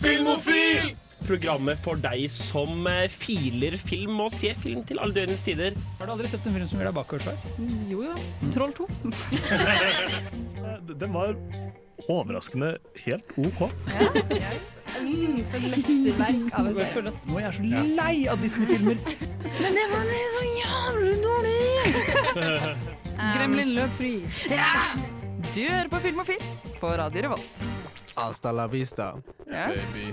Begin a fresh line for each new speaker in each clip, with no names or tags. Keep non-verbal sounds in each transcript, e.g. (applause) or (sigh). Filmofil! Programmet for deg som eh, filer film og ser film til alle døgnets tider.
Har du aldri sett en film som gjør deg bakoversveis?
Jo jo. Troll 2.
Den var overraskende helt OK.
Mm, for et mesterverk av en
Jeg
serie.
føler at nå er jeg så lei av Disney-filmer.
Men det var så jævlig dårlig! Gremlin løp fri.
Du hører på Filmofil på Radio Revolt.
Hasta la vista,
Ja.
baby.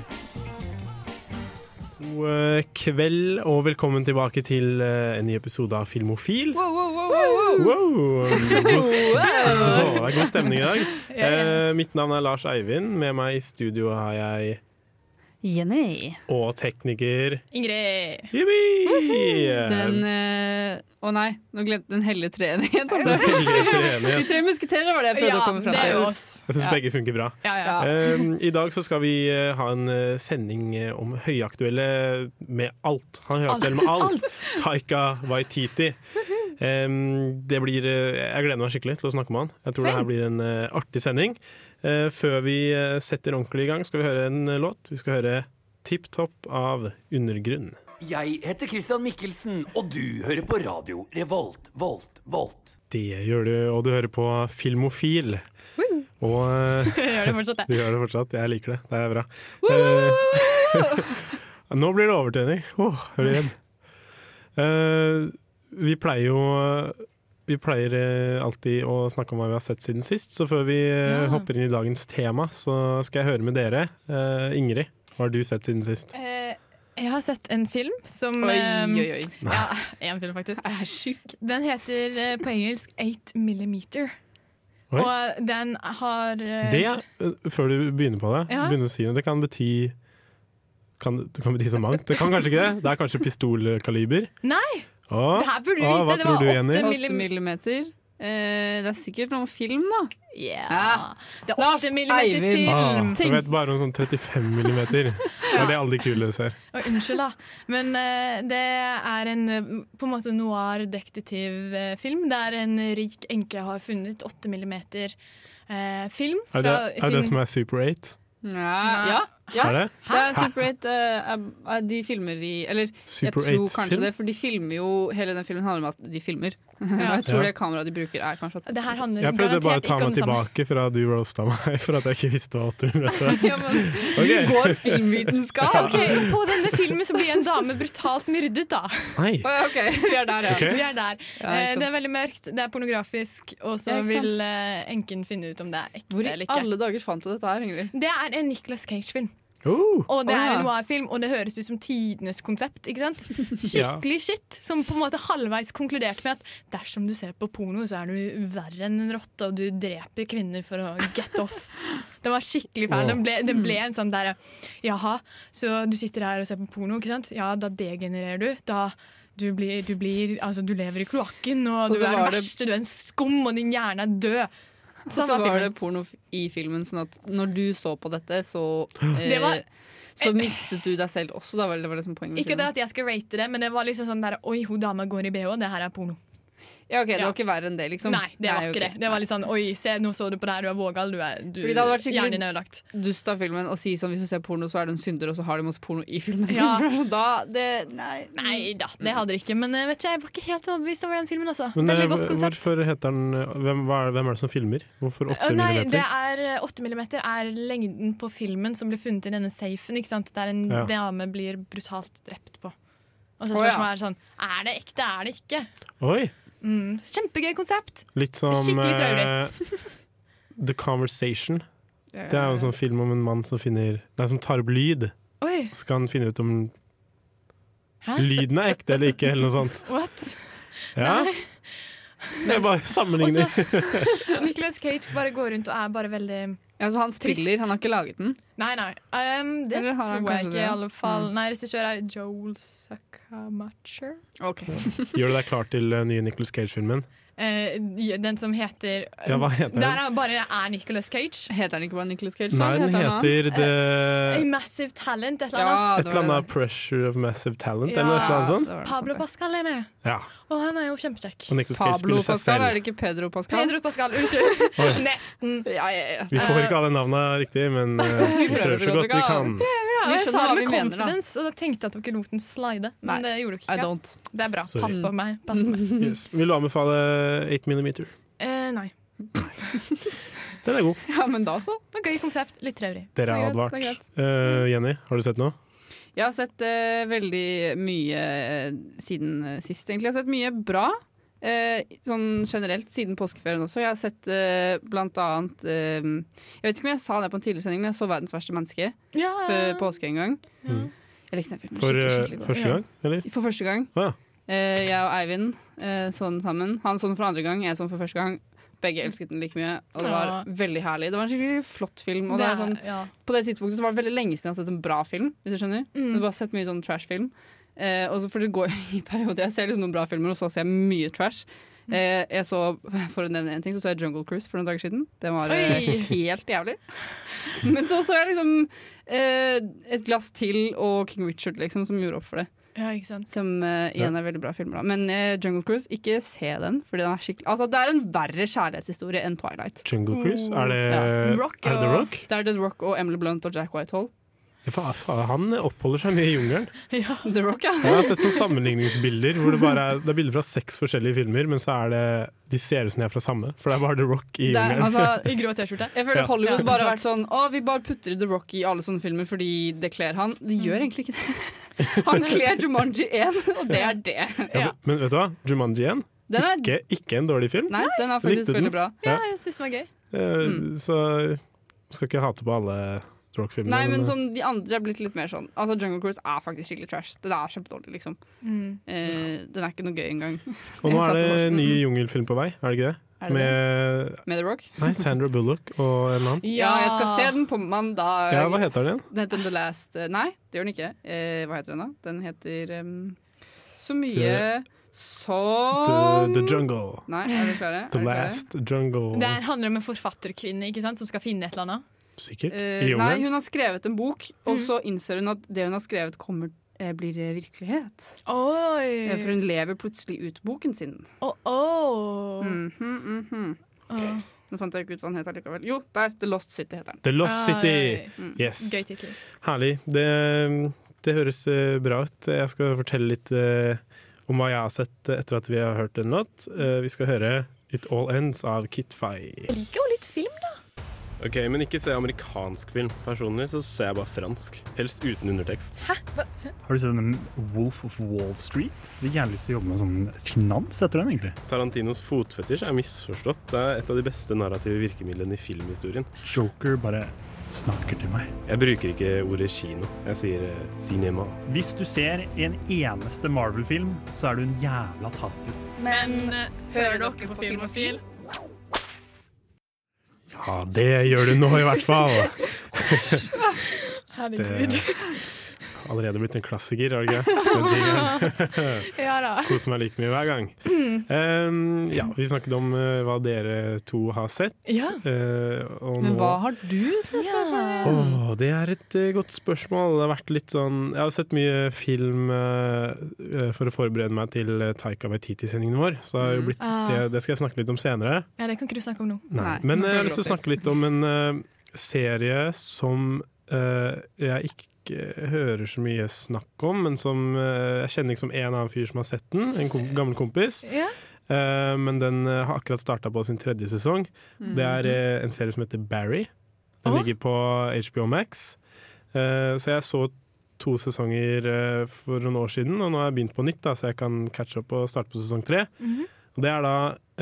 God eh, kveld og velkommen tilbake til eh, en ny episode av Filmofil.
Wow, wow, wow, wow, wow.
Wow! God, Åh, det er god stemning i dag. Eh, mitt navn er Lars Eivind. Med meg i studio har jeg
Jenny.
og tekniker
Ingrid.
Jippi!
Den eh, Å nei, nå glemte den hellige treenighet.
Det er veldig
De
treenighet.
tre musketerer var det jeg prøvde å komme fram
det er
til.
jo oss.
Jeg syns
Ja.
begge funker bra.
Ja, ja.
Eh, I dag så skal vi eh, ha en eh, sending eh, om høyaktuelle med alt. Han er høyaktuell med alt. Taika Waititi. Em, det blir, eh, jeg gleder meg skikkelig til å snakke med han. Jeg tror det her blir en eh, artig sending. Eh, før vi eh, setter ordentlig i gang, skal vi høre en eh, låt. Vi skal høre Tipp Topp av Undergrunn.
Jeg heter Christian Mikkelsen, og du hører på radio Revolt, Volt, Volt.
Det gjør du, og du hører på Filmofil. Og eh,
(laughs) Gjør det fortsatt,
du gjør det fortsatt. Jeg liker det. Det er bra. Eh, Nå blir det overtenning. Åh, jeg blir redd. Eh, vi pleier jo Vi pleier eh, alltid å snakke om hva vi har sett siden sist, så før vi eh,
Ja.
hopper inn i dagens tema, så skal jeg høre med dere. Eh, Ingrid, hva har du sett siden sist?
Eh, jeg har sett en film som
Oi,
eh,
oi, oi.
Ja, en film faktisk.
Jeg er sjuk.
Den heter eh, på engelsk 8 millimeter.
Oi.
Og den har eh,
Det, eh, før du begynner på det,
Ja.
begynner å si noe, det kan bety kan, det kan bety så mangt. Det kan kanskje ikke det? Det er kanskje pistolkaliber?
Nei!
Åh,
Det her burde du
Åh, hva
vite. Det
tror
var
du,
8
Jenny?
millimeter.
8 millimeter. Eh, det er sikkert noen film, da.
Yeah. Det er
Lars
8 millimeter
Eivind.
film.
ah, jeg vet bare om sånn 35
(laughs)
millimeter. Det er det alle de kule ser.
Å, unnskyld, da. Men eh, det er en eh, på en måte noir-detektivfilm der en rik enke har funnet 8 millimeter eh, film.
Er det,
fra
er det
sin-
som er Super 8?
Ja.
Nei.
ja. ja.
Er det?
Det er Super 8 eh, er- er de filmer i Eller
Super
jeg tror kanskje
8-film?
det, for de filmer jo Hele den filmen handler om at de filmer. (laughs) Og jeg
Ja.
tror det kameraet de bruker, er
(laughs)
kanskje at
Det her handler
Jeg prøvde bare å
garantert
ta
ikke om
meg
det samme.
tilbake fra du roasta meg for at jeg ikke visste hva 8 millimeter var.
ja, men,
Ok.
(laughs) Går filmvitenskap?
Ok, På denne filmen så blir en dame brutalt myrdet, da.
Nei.
Å, ja, OK, vi er der, ja.
Ok.
Vi er
Ja,
der.
ikke
Eh,
sant.
det er veldig mørkt, det er pornografisk, og så
Ja, ikke sant.
vil eh, enken finne ut om det er ekte
Hvor i
eller ikke.
alle dager fant du dette her, Ingrid?
Det er en Nicolas Cage-film,
Oh,
og det
Å,
er
ja.
en noir-film, og det høres ut som tidenes konsept. ikke
(laughs)
sant? Skikkelig shit, som på en måte halvveis konkluderte med at dersom du ser på porno, så er du verre enn en rotte, og du dreper kvinner for å get off.
(laughs)
Den var skikkelig fæl. Den ble, den
Mm.
ble en sånn derre Jaha, så du sitter her og ser på porno, ikke sant? Ja, da degenererer du. Da du blir, du blir Altså, du lever i kloakken, og,
Og
du
så
er
var
den
det-
verste, du er en skum, og din hjerne er død.
Og så
Sånn var
var det
filmen.
porno f- i filmen, sånn at når du så på dette, så
(gasps) Det var-
eh, Så mistet du deg selv også, da vel? Det var det som poenget. med
Ikke
filmen.
det at jeg skal rate det, men det var liksom sånn der Oi, hun dama går i bh, det her er porno.
Ja, ok, Det
Ja.
var ikke verre enn det, liksom?
Nei, det var
ok.
ikke det. Det var litt sånn Oi, se, nå så du på det her, du er vågal, du er du,
Fordi det hadde vært skikkelig-
Hjernen din er ødelagt.
Dust av filmen å si sånn hvis du ser porno, så er du en synder, og så har de masse porno i filmen sin.
Ja.
For det er sånn, da, det, nei,
Nei da, det hadde det ikke, men eh, vet ikke, jeg var ikke helt overbevist over den filmen, altså.
Men eh,
Veldig godt konsept.
hvorfor heter den hvem, hva er, hvem er det som filmer? Hvorfor 8
Å, Nei, det
millimeter?
er eh, 8 millimeter er lengden på filmen som ble funnet i denne safen, ikke sant? Der en
Ja.
dame blir brutalt drept på. Og så
Å, ja.
spørsmålet er sånn, er det ekte, er det ikke?
Oi!
Mm. Kjempegøy konsept!
Litt som
Skikkelig
eh, The
(laughs)
Conversation. Det er jo en sånn film om en mann som, finner, nei, som tar opp lyd.
Oi,
Så skal han finne ut om
Hæ?
lyden er ekte eller ikke, eller noe
(laughs)
sånt.
what?
Ja? Det er bare
(laughs) Og så
sammenligning.
Nicolas Cage bare går rundt og er bare veldig
Ja, så han
Trist.
spiller, han har ikke laget den.
Nei, nei. Um, det
Eller har han
tror jeg
kanskje
ikke,
det? Mm.
i alle fall. Nei, regissør er Joel Suckamacher.
Ok
Gjør du deg klar til eh, nye Nicolas Cage-filmen?
eh, den som heter um,
Ja, hva heter den?
Der er bare er Nicolas Cage.
Heter han ikke bare Nicholas Cage?
Nei, den
Heter han noe
heter The
A Massive Talent, et Eh, eller
annet?
annet.
Ja,
Et
det
eller
var det.
annet Pressure of Massive Talent,
Ja.
eller et eller annet
Ja,
sånt.
det var det
Pablo
sant,
Pascal er med,
Ja.
og han er jo kjempekjekk.
Og Nicolas
ja.
Cage
Pablo
spiller seg
Pascal, er
selv.
det ikke Pedro Pascal?
Pedro Pascal,
(laughs)
unnskyld. Nesten.
Ja, ja, ja.
Vi får ikke alle navna riktig, men eh, vi prøver så godt vi kan.
Ja,
Vi
og
skjønner
jeg sa
hva
det med
vi mener, da.
confidence, og da tenkte jeg at dere lot den slide. Men
Nei,
det gjorde
I
dere ikke.
don't. Mm.
Det er bra.
Sorry.
Pass på meg. Pass på meg.
Yes. Vil du anbefale 8 millimeter?
(laughs) Eh, nei.
Den er god.
Ja, men da så.
Det var Gøy konsept, litt traurig.
Dere er
Det er greit,
advart.
det er
Eh, Jenny, har du sett noe?
Jeg har sett eh, veldig mye eh, siden eh, sist, egentlig. Jeg har sett mye bra. eh, sånn generelt siden påskeferien også. Jeg har sett eh, blant annet eh, Jeg vet ikke om jeg sa det på en tidligere sending, men jeg så 'Verdens verste menneske'
Ja,
før påske en gang.
Mm.
Jeg likte den filmen
For
skikkelig,
eh,
skikkelig godt.
første gang, eller?
For første gang.
Å ja.
Eh, jeg og Eivind eh, så den sammen. Han så den for andre gang, jeg så den for første gang. Begge elsket den like mye, og det var
Ja.
veldig herlig. Det var en skikkelig flott film. Og det er sånn,
ja.
på det tidspunktet så var det veldig lenge siden jeg har sett en bra film. Hvis du skjønner Du
Mm.
har bare sett mye sånn trash-film. Eh, og så for det går jo (laughs) i perioder Jeg ser liksom noen bra filmer, og så ser jeg mye trash. Eh, jeg så, (laughs) For å nevne én ting, så så jeg Jungle Cruise for noen dager siden. Den var eh,
Oi.
(laughs) helt jævlig. Men så så jeg liksom eh, Et glass til og King Richard, liksom, som gjorde opp for det.
Mm, ja, ikke sant.
Som eh, igjen er veldig bra filmer. Da. Men eh, Jungle Cruise, ikke se den. Fordi den er skikkelig Altså, Det er en verre kjærlighetshistorie enn Twilight.
Jungle Cruise? Er det,
Ja. Rock,
er det The
ja.
Rock?
Det er The Rock og Emily Blunt og Jack Whitehall.
Ja, fa- fa- Han oppholder seg mye i jungelen.
Ja.
The Rock, ja.
Jeg har sett sånne sammenligningsbilder hvor det bare er, det er bilder fra seks forskjellige filmer, men så er det de ser ut som de er fra samme, for det er bare The Rock i
Det er,
jungelen.
(laughs)
altså,
I grå T-skjorte.
Jeg føler
Ja.
Hollywood
Ja,
bare har
sant.
vært sånn Å, vi bare putter The Rock i alle sånne filmer fordi det kler han. Det gjør egentlig ikke det. (laughs) Han kler Jumanji 1, og det er det.
Ja.
Men vet du hva? Jumanji 1,
Den er,
ikke, ikke en dårlig film.
nei, den er
Likte
faktisk
den?
veldig bra.
ja, jeg syns den var gøy.
Eh,
Mm.
Så skal ikke hate på alle The eh, Rock-filmene.
Nei, men sånn, De andre er blitt litt mer sånn. Altså, Jungle Cruise er faktisk skikkelig trash. Den er kjempedårlig, liksom.
Mm.
Eh, den er ikke noe gøy engang.
Og nå
Jeg
er
satte
det
meg-
ny jungelfilm på vei, er det ikke det?
Mm-hmm. Er det
Med
Med The Rock?
nei, Sandra Bullock og en annen.
Ja, jeg skal se den på mandag.
Ja, hva heter den igjen?
Den heter The Last eh, Nei, det gjør den ikke. Eh, hva heter den, da? Den heter em, så mye
The-
som
The, the Jungle.
Nei, er dere klare?
The
Er dere klare?
Last Jungle.
Det her handler om en forfatterkvinne ikke sant, som skal finne et eller annet.
Sikkert. I
Eh, nei,
jungelen?
hun har skrevet en bok, og så innser hun at det hun har skrevet, kommer, eh, blir eh, virkelighet. Eh, For
Oi!
hun lever plutselig ut boken sin.
Oh, oh.
Mhm, mhm.
Ah.
Nå fant jeg ikke ut hva den heter likevel. Jo, der! The Lost City heter den.
The Lost City.
Oi.
Yes.
Gøy tittel.
Herlig. Det, det høres eh, bra ut. Jeg skal fortelle litt eh, om hva jeg har sett eh, etter at vi har hørt en låt. Eh, Vi skal høre It All Ends av Kit Fay.
Jeg liker jo litt film, da.
Ok, men ikke se amerikansk film. Personlig så ser jeg bare fransk. Helst uten undertekst.
(laughs) Har du sett den Wolf of Wall Street? Jeg har gjerne lyst til å jobbe med sånn finans etter den, egentlig.
Tarantinos fotfetisj er misforstått. Det er et av de beste narrative virkemidlene i filmhistorien.
Joker bare snakker til meg.
Jeg bruker ikke ordet kino. Jeg sier eh, cinema.
Hvis du ser en eneste Marvel-film, så er du en jævla taper.
Men eh, hører dere på Filmofil?
Ja, det gjør du nå i hvert fall.
Herregud.
Det allerede blitt en klassiker, har det ikke? Den jingeren.
(laughs) Ja da.
Koser meg like mye hver gang. Um, ja, vi snakket om eh, hva dere to har sett.
Ja.
eh, og
Men
nå-
hva har du sett?
Ja.
Åh, det er et eh, godt spørsmål. Det har vært litt sånn Jeg har sett mye film eh, eh, for å forberede meg til eh, Taika Waititi-sendingen vår. Så det, har jo blitt, det,
Ah.
det skal jeg snakke litt om senere.
ja, det kan ikke du snakke om nå.
Nei.
Nei,
Men
nå
eh,
får
jeg har
vi
lyst til å
gråte.
snakke litt om en eh, serie som eh, jeg ikke eh, hører så mye snakk om, men som eh, jeg kjenner ikke som en annen fyr som har sett den. En kom gammel kompis.
Ja.
Eh, men den eh, har akkurat starta på sin tredje sesong. Det
Mhm.
er eh, en serie som heter Barry. Den
Å.
ligger på HBO Max. Eh, så jeg så to sesonger eh, for noen år siden, og nå har jeg begynt på nytt, da, så jeg kan catche opp og starte på sesong tre.
Mhm.
Og Det er da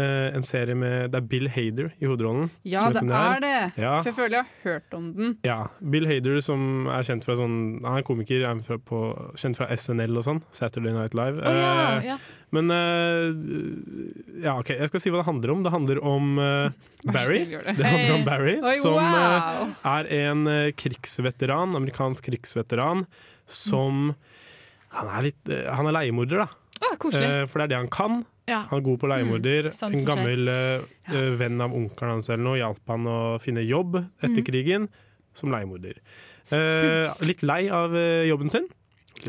eh, en serie med Det er Bill Hader i hovedrollen.
Ja,
Som
det
heter
er det!
Ja,
For jeg føler jeg har hørt om den.
ja. Bill Hader som er kjent fra sånn Han er komiker, er fra på, kjent fra SNL og sånn. Saturday Night Live.
Å ja,
Eh,
ja.
men eh, ja, OK, jeg skal si hva det handler om. Det handler om eh,
Vær så
Barry.
snill, gjør det.
Det handler om Barry,
Oi,
som eh,
wow!
er en eh,
Mm.
krigsveteran, amerikansk krigsveteran, som Han er, litt, eh, han er leiemorder, da.
Å, koselig.
Eh, for det er det han kan.
ja.
Han er god på
Mm.
leiemorder.
Sånn
sant
en
som
gammel eh, eh, venn av onkelen hans eller noe hjalp han å finne jobb etter
Mm.
krigen som leiemorder. Eh, litt lei av eh, jobben sin.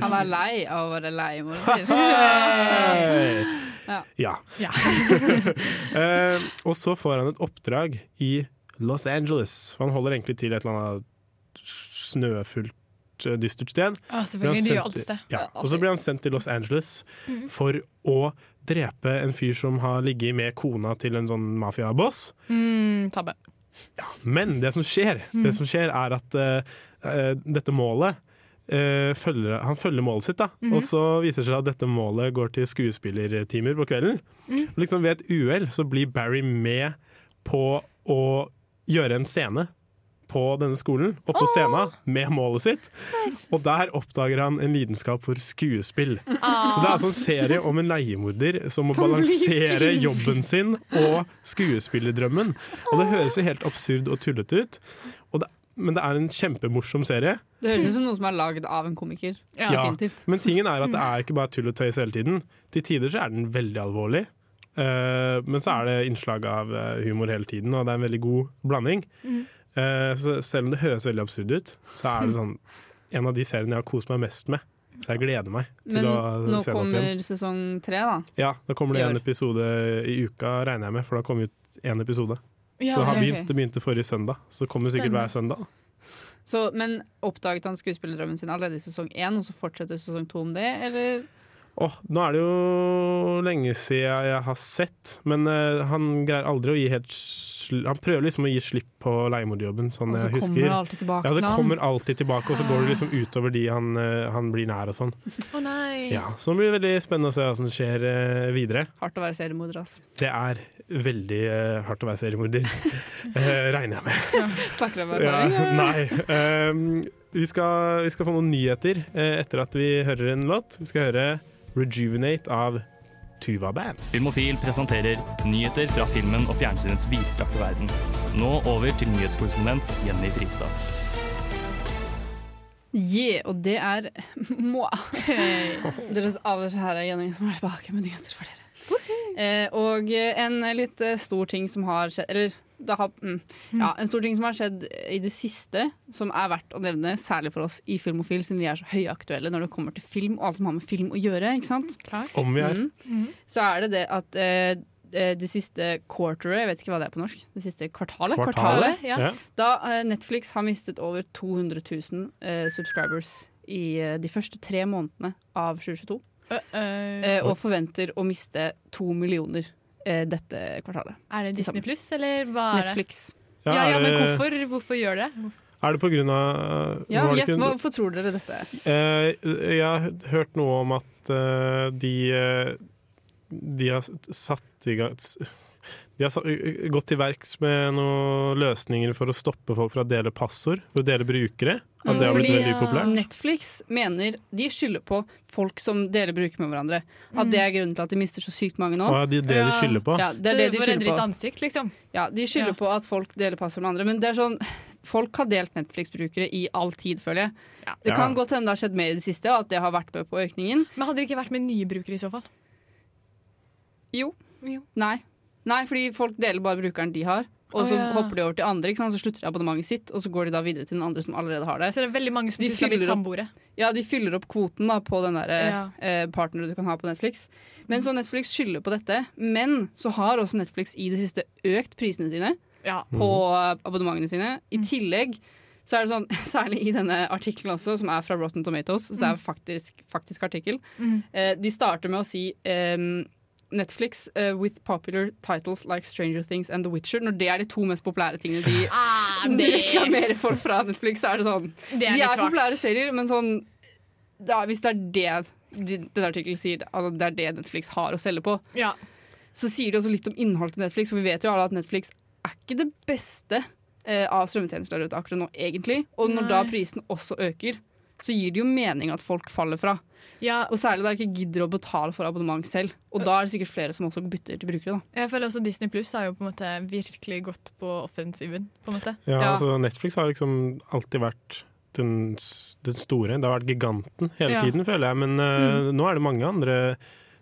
Han er lei av å være leiemorder.
(laughs)
Ja.
Ja.
Ja.
(laughs) Eh, og så får han et oppdrag i Los Angeles. For han holder egentlig til et eller annet snøfullt, eh, dystert sted.
Å,
Blir han
Ah, selvfølgelig. De gjør
sendt
alt
til-
sted.
Ja. Og så blir han sendt til Los Angeles for å drepe en fyr som har ligget med kona til en sånn mafiaboss.
Mm, tabbe.
Men det som skjer, det som skjer er at eh, eh, dette målet eh, følger, Han følger målet sitt, da. Og så viser det seg at dette målet går til skuespillertimer på kvelden. Og Liksom Ved et uhell så blir Barry med på å gjøre en scene på denne skolen, og på scenen, med målet sitt. Og der oppdager han en lidenskap for skuespill.
Ah.
Så det er altså en serie om en leiemorder som må
Ah. Som blir
balansere
skuespiller.
jobben sin og skuespillerdrømmen. Og
Ah.
det høres jo helt absurd og tullete ut, og det, men det er en kjempemorsom serie.
Det høres ut som noe som er lagd av en komiker.
Ja.
Ja,
Definitivt. Mm.
Men tingen er at det er ikke bare tull og tøys hele tiden. Til tider så er den veldig alvorlig, eh, men så er det innslag av eh, humor hele tiden, og det er en veldig god blanding.
Mm.
Eh, så selv om det høres veldig absurd ut, så er det
(laughs)
sånn en av de seriene jeg har kost meg mest med. Så jeg gleder meg til
Men
å
nå
se den opp igjen.
kommer sesong tre, da.
Ja, da kommer det
I
en
år.
episode i uka, regner jeg med, for da kommer ut én episode.
Ja,
Så det, har
ok.
begynt, det begynte forrige søndag, så det kommer sikkert hver søndag.
Så, men oppdaget han skuespillerdrømmen sin allerede i sesong én, og så fortsetter sesong to om det, eller?
Åh, nå er det jo lenge siden jeg har sett, men eh, han greier aldri å gi helt sl Han prøver liksom å gi slipp på leiemorderjobben, sånn
Og så
jeg
kommer
husker.
han Ah. alltid tilbake
Ja, det
til han.
kommer alltid tilbake, og så går det liksom utover de han, eh, han blir nær og sånn.
Å nei.
Ja, så det blir veldig spennende å se hva som skjer eh, videre.
Hardt å være seriemorder, ass. (laughs)
Det er veldig eh, hardt å være seriemorder, (laughs) Eh, regner jeg med.
Snakker om
Ja, (laughs)
erfaring.
nei. Ehm, vi, skal, vi skal få noen nyheter eh, etter at vi hører en låt. Vi skal høre 'Rejuvenate' av Tuva Band.
Filmofil presenterer nyheter fra filmen og fjernsynets vidstrakte verden. Nå over til nyhetskorrespondent Jenny Fristad.
Yeah, og det er (laughs) moi. Deres aller kjære Jenny som er tilbake med nyheter for dere. Eh, og eh, en litt eh, stor ting som har skjedd Eller det har, mm, ja, en stor ting som har skjedd i det siste, som er verdt å nevne, særlig for oss i Filmofil, siden vi er så høyaktuelle når det kommer til film og alt som har med film å gjøre. ikke sant?
Om vi er.
Mm.
Mhm.
Så er det det at eh, eh, det siste quarteret, jeg vet ikke hva det er på norsk, det siste kvartalet,
Kvartalet.
kvartalet
Ja.
Ja.
da eh, Netflix har mistet over 200 000 eh, subscribers i eh, de første tre månedene av 2022,
Ø, ø,
eh, og forventer å miste to millioner eh, dette kvartalet.
er det Disney Pluss, eller hva er det?
Netflix.
Ja,
Ja, ja,
er,
men
det-
hvorfor, hvorfor gjør det? Hvorfor?
er det på grunn av
Ja,
var det
gjett
ikke-
hva- hvorfor tror dere dette?
Eh, jeg har hørt noe om at eh, de eh, De har satt i gang De har sa- gått til verks med noen løsninger for å stoppe folk fra å dele passord, for å dele brukere. At det har blitt
Fordi,
veldig
ja.
upopulært.
Netflix mener de skylder på folk som deler bruker med hverandre. At det er grunnen til at de mister så sykt mange nå.
Og det er det de
Ja.
skylder på.
Ja, det
Så
er det de
hvorfor redder
skylder
ditt
på.
ansikt, liksom?
Ja, de skylder
Ja.
på at folk deler passord med andre, men det er sånn Folk har delt Netflix-brukere i all tid, føler jeg. Det kan
Ja.
godt hende det har skjedd mer i det siste, og at det har vært med på økningen.
Men hadde det ikke vært med nye brukere i så fall?
Jo.
Jo.
Nei. Nei, fordi folk deler bare brukeren de har. Og
Å,
så
ja.
hopper de over til andre, ikke sant? så slutter de abonnementet sitt, og så går de da videre til den andre som allerede har det.
Så det er veldig mange som
De
synes det er blitt
fyller opp.
samboere.
Ja, de fyller opp kvoten da på den der ja.
Ja.
eh, partneren du kan ha på Netflix. Men så Netflix skylder på dette. Men så har også Netflix i det siste økt prisene sine
Ja.
(laughs)
på
Mhm.
eh, abonnementene sine. I tillegg så er det sånn, (laughs) særlig i denne artikkelen også, som er fra Rotten Tomatoes, så det
Mhm.
er faktisk, faktisk artikkel, eh, de starter med å si ehm, Netflix eh, with popular titles like Stranger Things and The Witcher. Når det er de to mest populære tingene de (laughs)
Ah,
de
det, det
reklamerer for fra Netflix, så er det sånn
er
De
litt
er populære
svakt.
serier, men sånn da, Hvis det er det de- denne artikkelen sier, altså det er det Netflix har å selge på,
Ja.
så sier det også litt om innholdet til Netflix, for vi vet jo alle at Netflix er ikke det beste eh, av strømmetjenester der ute akkurat nå, egentlig. Og når
Nei.
da prisen også øker, så gir det jo mening at folk faller fra.
ja,
Og særlig da jeg ikke gidder å betale for abonnement selv. Og da er det sikkert flere som også bytter til brukere, da.
jeg føler også Disney Pluss har jo på en måte virkelig gått på offensiven. på en måte.
Ja,
Ja.
altså Netflix har liksom alltid vært den, s- den store. Det har vært giganten hele
Ja. Mm.
tiden, føler jeg. Men eh, nå er det mange andre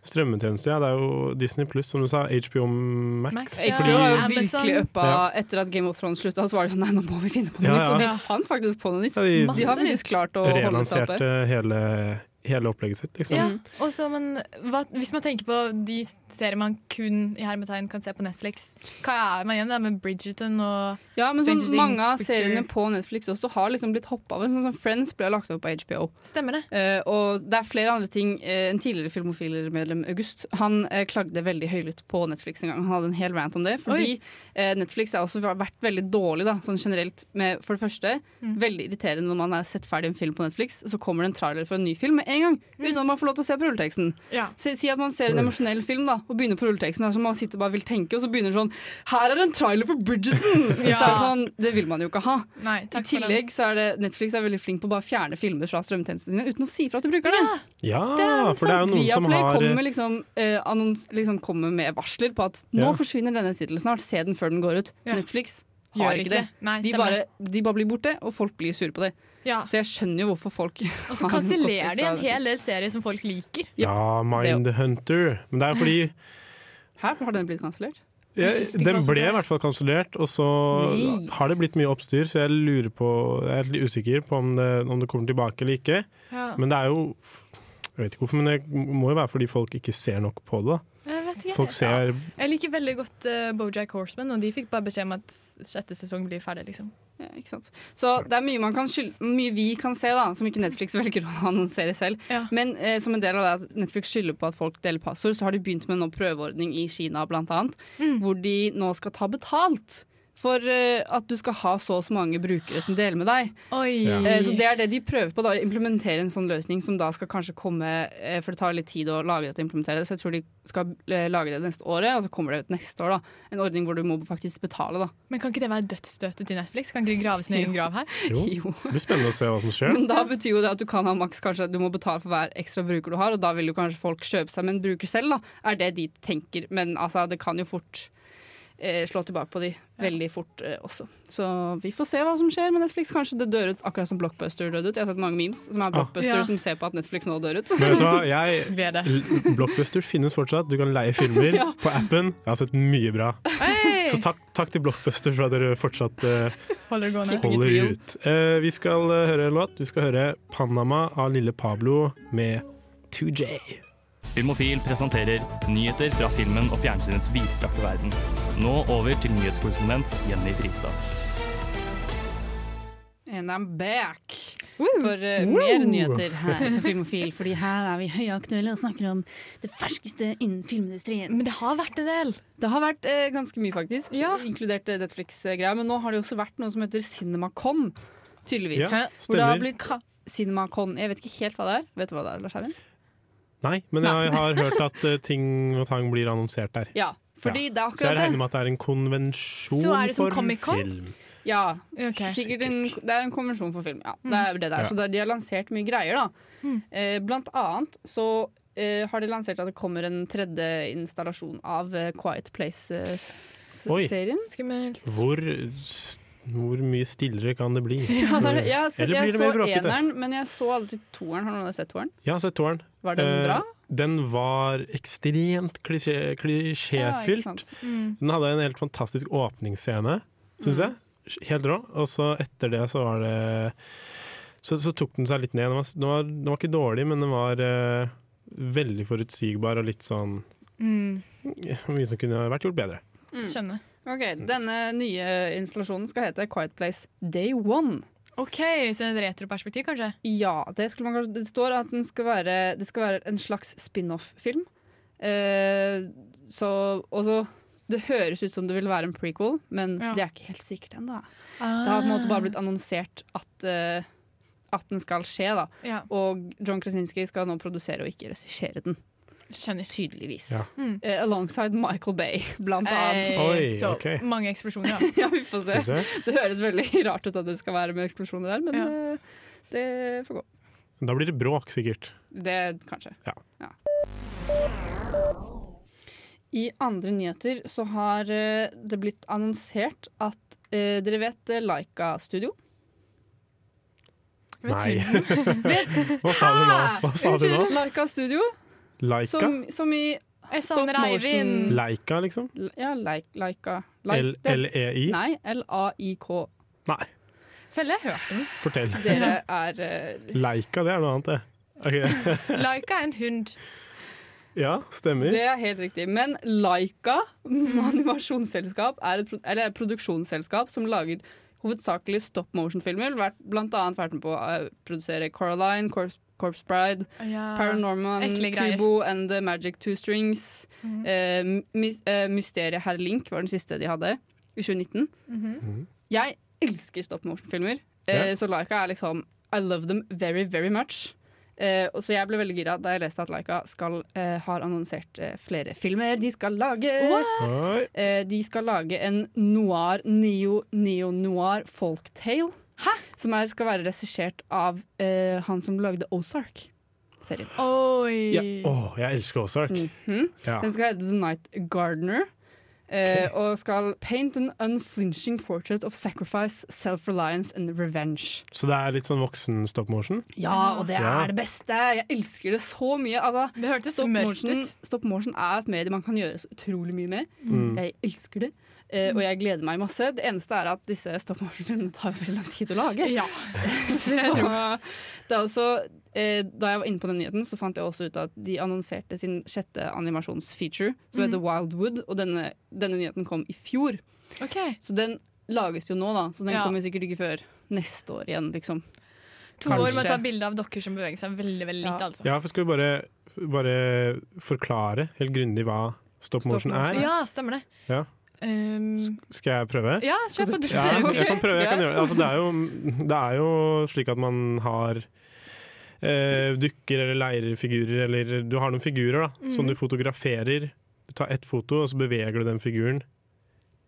Strømmetjeneste, ja. Det er jo Disney pluss, som du sa. HBO Max.
Max,
Fordi-
HBO har jo
Amazon.
virkelig uppa etter at Game of Thrones slutta. Så var det sånn nei, nå må vi finne på
Ja,
noe nytt.
ja.
Og de fant faktisk på noe nytt.
Ja, de
Masse
De har faktisk
nytt.
klart å holde seg oppe.
relanserte eh, hele, hele opplegget sitt, liksom.
Mm.
Ja, og så, men hva, Hvis man tenker på de serier man kun i hermetegn kan se på Netflix Hva er man igjen der med Bridgerton og
Ja, men sånn,
Stranger Things,
mange av
Witcher.
seriene på Netflix også har liksom blitt hoppa over. Sånn som Friends ble lagt opp på HBO.
Stemmer det?
Eh, og det er flere andre ting. Eh, en tidligere Filmofiler-medlem, August, han eh, klagde veldig høylytt på Netflix en gang. Han hadde en hel rant om det. Fordi eh, Netflix har også vært veldig dårlig, da, sånn generelt. Med, for det første, veldig irriterende når man har sett ferdig en film på Netflix, så kommer det en trailer for en ny film med en gang. Uten at man får lov til å se på rulleteksten.
Ja.
Si, si at man ser en emosjonell film da, og begynner på rulleteksten, og så man sitter bare og vil tenke, og så begynner det sånn Her er en trailer for Bridgerton!
Ja.
Så er det sånn, det vil man jo ikke ha.
Nei, takk
I tillegg så er det Netflix er veldig flink på å bare fjerne filmer fra strømmetjenestene sine uten å si fra til brukerne.
Ja.
Ja,
er sånn
for det er jo noen som
Viaplay
har
kommer, liksom, eh, annons, liksom kommer med varsler på at nå
Ja.
forsvinner denne tittelen snart, se den før den går ut.
Ja.
Netflix
for det
har ikke det.
Nei,
De
stemmer
bare, de bare blir borte, og folk blir sure på det.
det. Ja.
Så jeg skjønner jo hvorfor folk (laughs)
Og så kansellerer Altså, de en hel del serier som folk liker.
Ja, Mind the Hunter. Men det er jo fordi
Her har den blitt kansellert.
ja,
(laughs) Jeg synes det ikke
Den
var så
ble
bra.
i hvert fall kansellert, og så
Nei.
har det blitt mye oppstyr, så jeg lurer på Jeg er litt usikker på om det, om det kommer tilbake eller ikke. Men det er jo Jeg vet ikke hvorfor, men det må jo være fordi folk ikke ser nok på det. da.
Jeg vet ikke.
Folk ser
Jeg liker veldig godt eh, Bojack Horseman, og de fikk bare beskjed om at sjette sesong blir ferdig. liksom.
Ja, ikke sant? Så det er mye, man kan skyld, mye vi kan se, da, som ikke Netflix (laughs) velger å annonsere selv.
Ja.
Men eh, som en del av det at Netflix skylder på at folk deler passord, så har de begynt med en nå prøveordning i Kina blant annet, hvor de nå skal ta betalt. For eh, at du skal ha så og så mange brukere som deler med deg.
Oi!
Ja.
Eh, så Det er det de prøver på. da, Å implementere en sånn løsning som da skal kanskje komme eh, For det tar litt tid å lage det og implementere det, så jeg tror de skal eh, lage det neste året, og så kommer det ut neste år. da En ordning hvor du må faktisk betale, da.
Men kan ikke det være dødsstøtet til Netflix? Kan ikke de grave sin egen grav
(laughs)
her?
Jo,
Jo.
det blir spennende å se hva som skjer.
Men da betyr jo det at du kan ha maks kanskje at du må betale for hver ekstra bruker du har, og da vil jo kanskje folk kjøpe seg med en bruker selv, da, er det de tenker. Men altså, det kan jo fort eh, slå tilbake på de veldig fort eh, også. Så vi får se hva som skjer med Netflix. Kanskje det dør ut akkurat som Blockbuster døde ut. Jeg har sett mange memes som er Blockbuster
Ja.
som ser på at Netflix nå dør
(laughs)
ut.
Men vet du hva, jeg
Ved det.
L- Blockbuster finnes fortsatt. Du kan leie filmer på appen. Jeg har sett mye bra.
Hey!
Så takk, takk til Blockbuster for at dere fortsatt eh,
Holder det gående.
holder
real.
ut. Eh, vi skal eh, høre en låt. Vi skal høre 'Panama' av Lille Pablo med 2J.
Filmofil presenterer nyheter fra filmen og fjernsynets vidstrakte verden. Nå over til nyhetskorrespondent Jenny Fristad.
(laughs) And I'm back for eh, mer nyheter her på Filmofil, fordi her er vi høyaktuelle og snakker om det ferskeste innen filmindustrien.
Men det har vært en del.
Det har vært eh, ganske mye, faktisk,
Ja.
inkludert eh, Netflix-greia. Men nå har det jo også vært noe som heter CinemaCon, tydeligvis.
Ja,
Hvor det har
stemmer.
blitt ka- CinemaCon Jeg vet ikke helt hva det er. Vet du hva det er, Lars Eivind?
Nei, men jeg har hørt at eh, ting og tang blir annonsert der.
Ja, fordi det
Så
er
jeg
akkurat
regner
det.
med at det er en konvensjon
Så er det som
for
Comic-Con?
film.
Ja,
Ok.
sikkert en, det er en konvensjon for film. Ja, det er det det er.
Ja.
Så det, de har lansert mye greier, da.
Mm.
Eh, blant annet så eh, har de lansert at det kommer en tredje installasjon av eh, Quiet
Oi.
Place-serien.
Skummelt.
Hvor, s- hvor mye stillere kan det bli?
(laughs) ja, det er det. jeg har sett-
Eller blir
jeg
det
så
mer bråkete?
eneren, men jeg så aldri toeren. Har noen av dere sett toeren?
Jeg har sett toeren.
Var den
Eh,
bra?
Den var ekstremt klisjé-
ikke
klisjéfylt.
sant.
Mm,
Den hadde en helt fantastisk åpningsscene,
Mm.
syns jeg. Helt rå. Og så etter det så var det Så, så tok den seg litt ned. Den var, den var, den var ikke dårlig, men den var eh, veldig forutsigbar og litt sånn
Mm.
Mye som kunne vært gjort bedre.
Skjønner.
Ok, Denne nye installasjonen skal hete Quiet Place Day One.
OK, så et retroperspektiv, kanskje?
Ja, det, skulle man kanskje, det står at den skal være, det skal være en slags spin-off-film. Eh, så Og så Det høres ut som det vil være en prequel, men
Ja.
det er ikke helt sikkert ennå. Det har på en måte bare blitt annonsert at, eh, at den skal skje, da.
ja,
Og John Krasinski skal nå produsere og ikke regissere den,
Skjønner.
tydeligvis.
Ja.
Mm.
Eh, alongside Michael Bay, blant annet.
Eh,
Oi,
så
ok.
mange eksplosjoner, da.
(laughs)
Ja, (laughs) vi får se.
Skal vi se.
(laughs) Det høres veldig rart ut at det skal være med eksplosjoner der, men
Ja.
eh, det får gå.
Da blir det bråk, sikkert.
Det kanskje.
Ja.
I andre nyheter så har eh, det blitt annonsert at eh, dere vet eh, Laika Studio?
Vet
Nei.
du-
(laughs)
(laughs)
Hva sa du nå? Hva sa du nå?
Laika Studio
Laika?
Som, som i
Jeg savner
Stop
Eivind.
motion.
Leika, liksom?
Ja, like, Laika. Like, det-
L-L-E-I?
Nei, L-A-I-K.
Nei,
Felle, jeg har hørt den.
fortell.
Dere
(laughs)
er eh,
Leika, det er noe annet, det. Ok. (laughs)
Laika er en hund.
Ja, stemmer.
Det er helt riktig. Men Laika (laughs) animasjonsselskap er et, pro- eller et produksjonsselskap som lager hovedsakelig stop motion-filmer. vært- Blant annet vært med på å eh, produsere Coraline, Corpse, Corpse Bride,
Ja.
Paranorman,
Ah, ekle greier. Mhm.
Kubo and the Magic Two Strings. Eh, my, eh, Mysteriet Herr Link var den siste de hadde, i 2019.
Mhm.
Jeg elsker stop motion-filmer, eh,
Ja.
så Laika er liksom I love them very, very much. Eh, og så jeg ble veldig gira da jeg leste at Laika skal, eh, har annonsert eh, flere filmer de skal lage.
Oi.
Eh, de skal lage en noir, neo, neo-noir folktale. Som er, skal være regissert av eh, han som lagde Ozark. Serien.
Oi.
Ja. Åh, jeg elsker Ozark. Ja.
Den skal hete The Night Gardener. eh, Og skal paint an unflinching portrait of sacrifice, self-reliance and revenge. Ah.
Så det er litt sånn voksen stop motion?
Ja, og det
Ja.
er det beste! Jeg elsker det så mye. Altså,
Det hørtes
stop,
mørkt
motion,
ut.
stop motion er et medie man kan gjøre så utrolig mye med.
Mm.
Jeg elsker det, eh, og jeg gleder meg masse. Det eneste er at disse stop motion-filmene tar veldig lang tid å lage.
Ja.
(laughs) Så, det er også, eh, da jeg var inne på den nyheten, så fant jeg også ut at de annonserte sin sjette animasjonsfeature, som
Mhm.
heter Wildwood, og denne, denne nyheten kom i fjor.
Ok.
Så den lages jo nå, da, så den
Ja.
kommer sikkert ikke før neste år igjen,
(laughs)
liksom.
To år med å
Kanskje.
ta bilde av dokker som beveger seg veldig veldig
Ja.
lite. altså.
Ja, for skal vi bare, bare forklare helt grundig hva stop motion
motion.
er?
Ja, stemmer det.
Ja.
Um,
Skal jeg prøve?
ja, kjør på. Du
(laughs) Ja,
ser jo
jeg kan prøve. Jeg kan
greit.
gjøre. det. Altså, det, er jo, det er jo slik at man har eh, dukker eller leirfigurer, eller du har noen figurer da, som
Mhm.
du fotograferer. Du tar ett foto, og så beveger du den figuren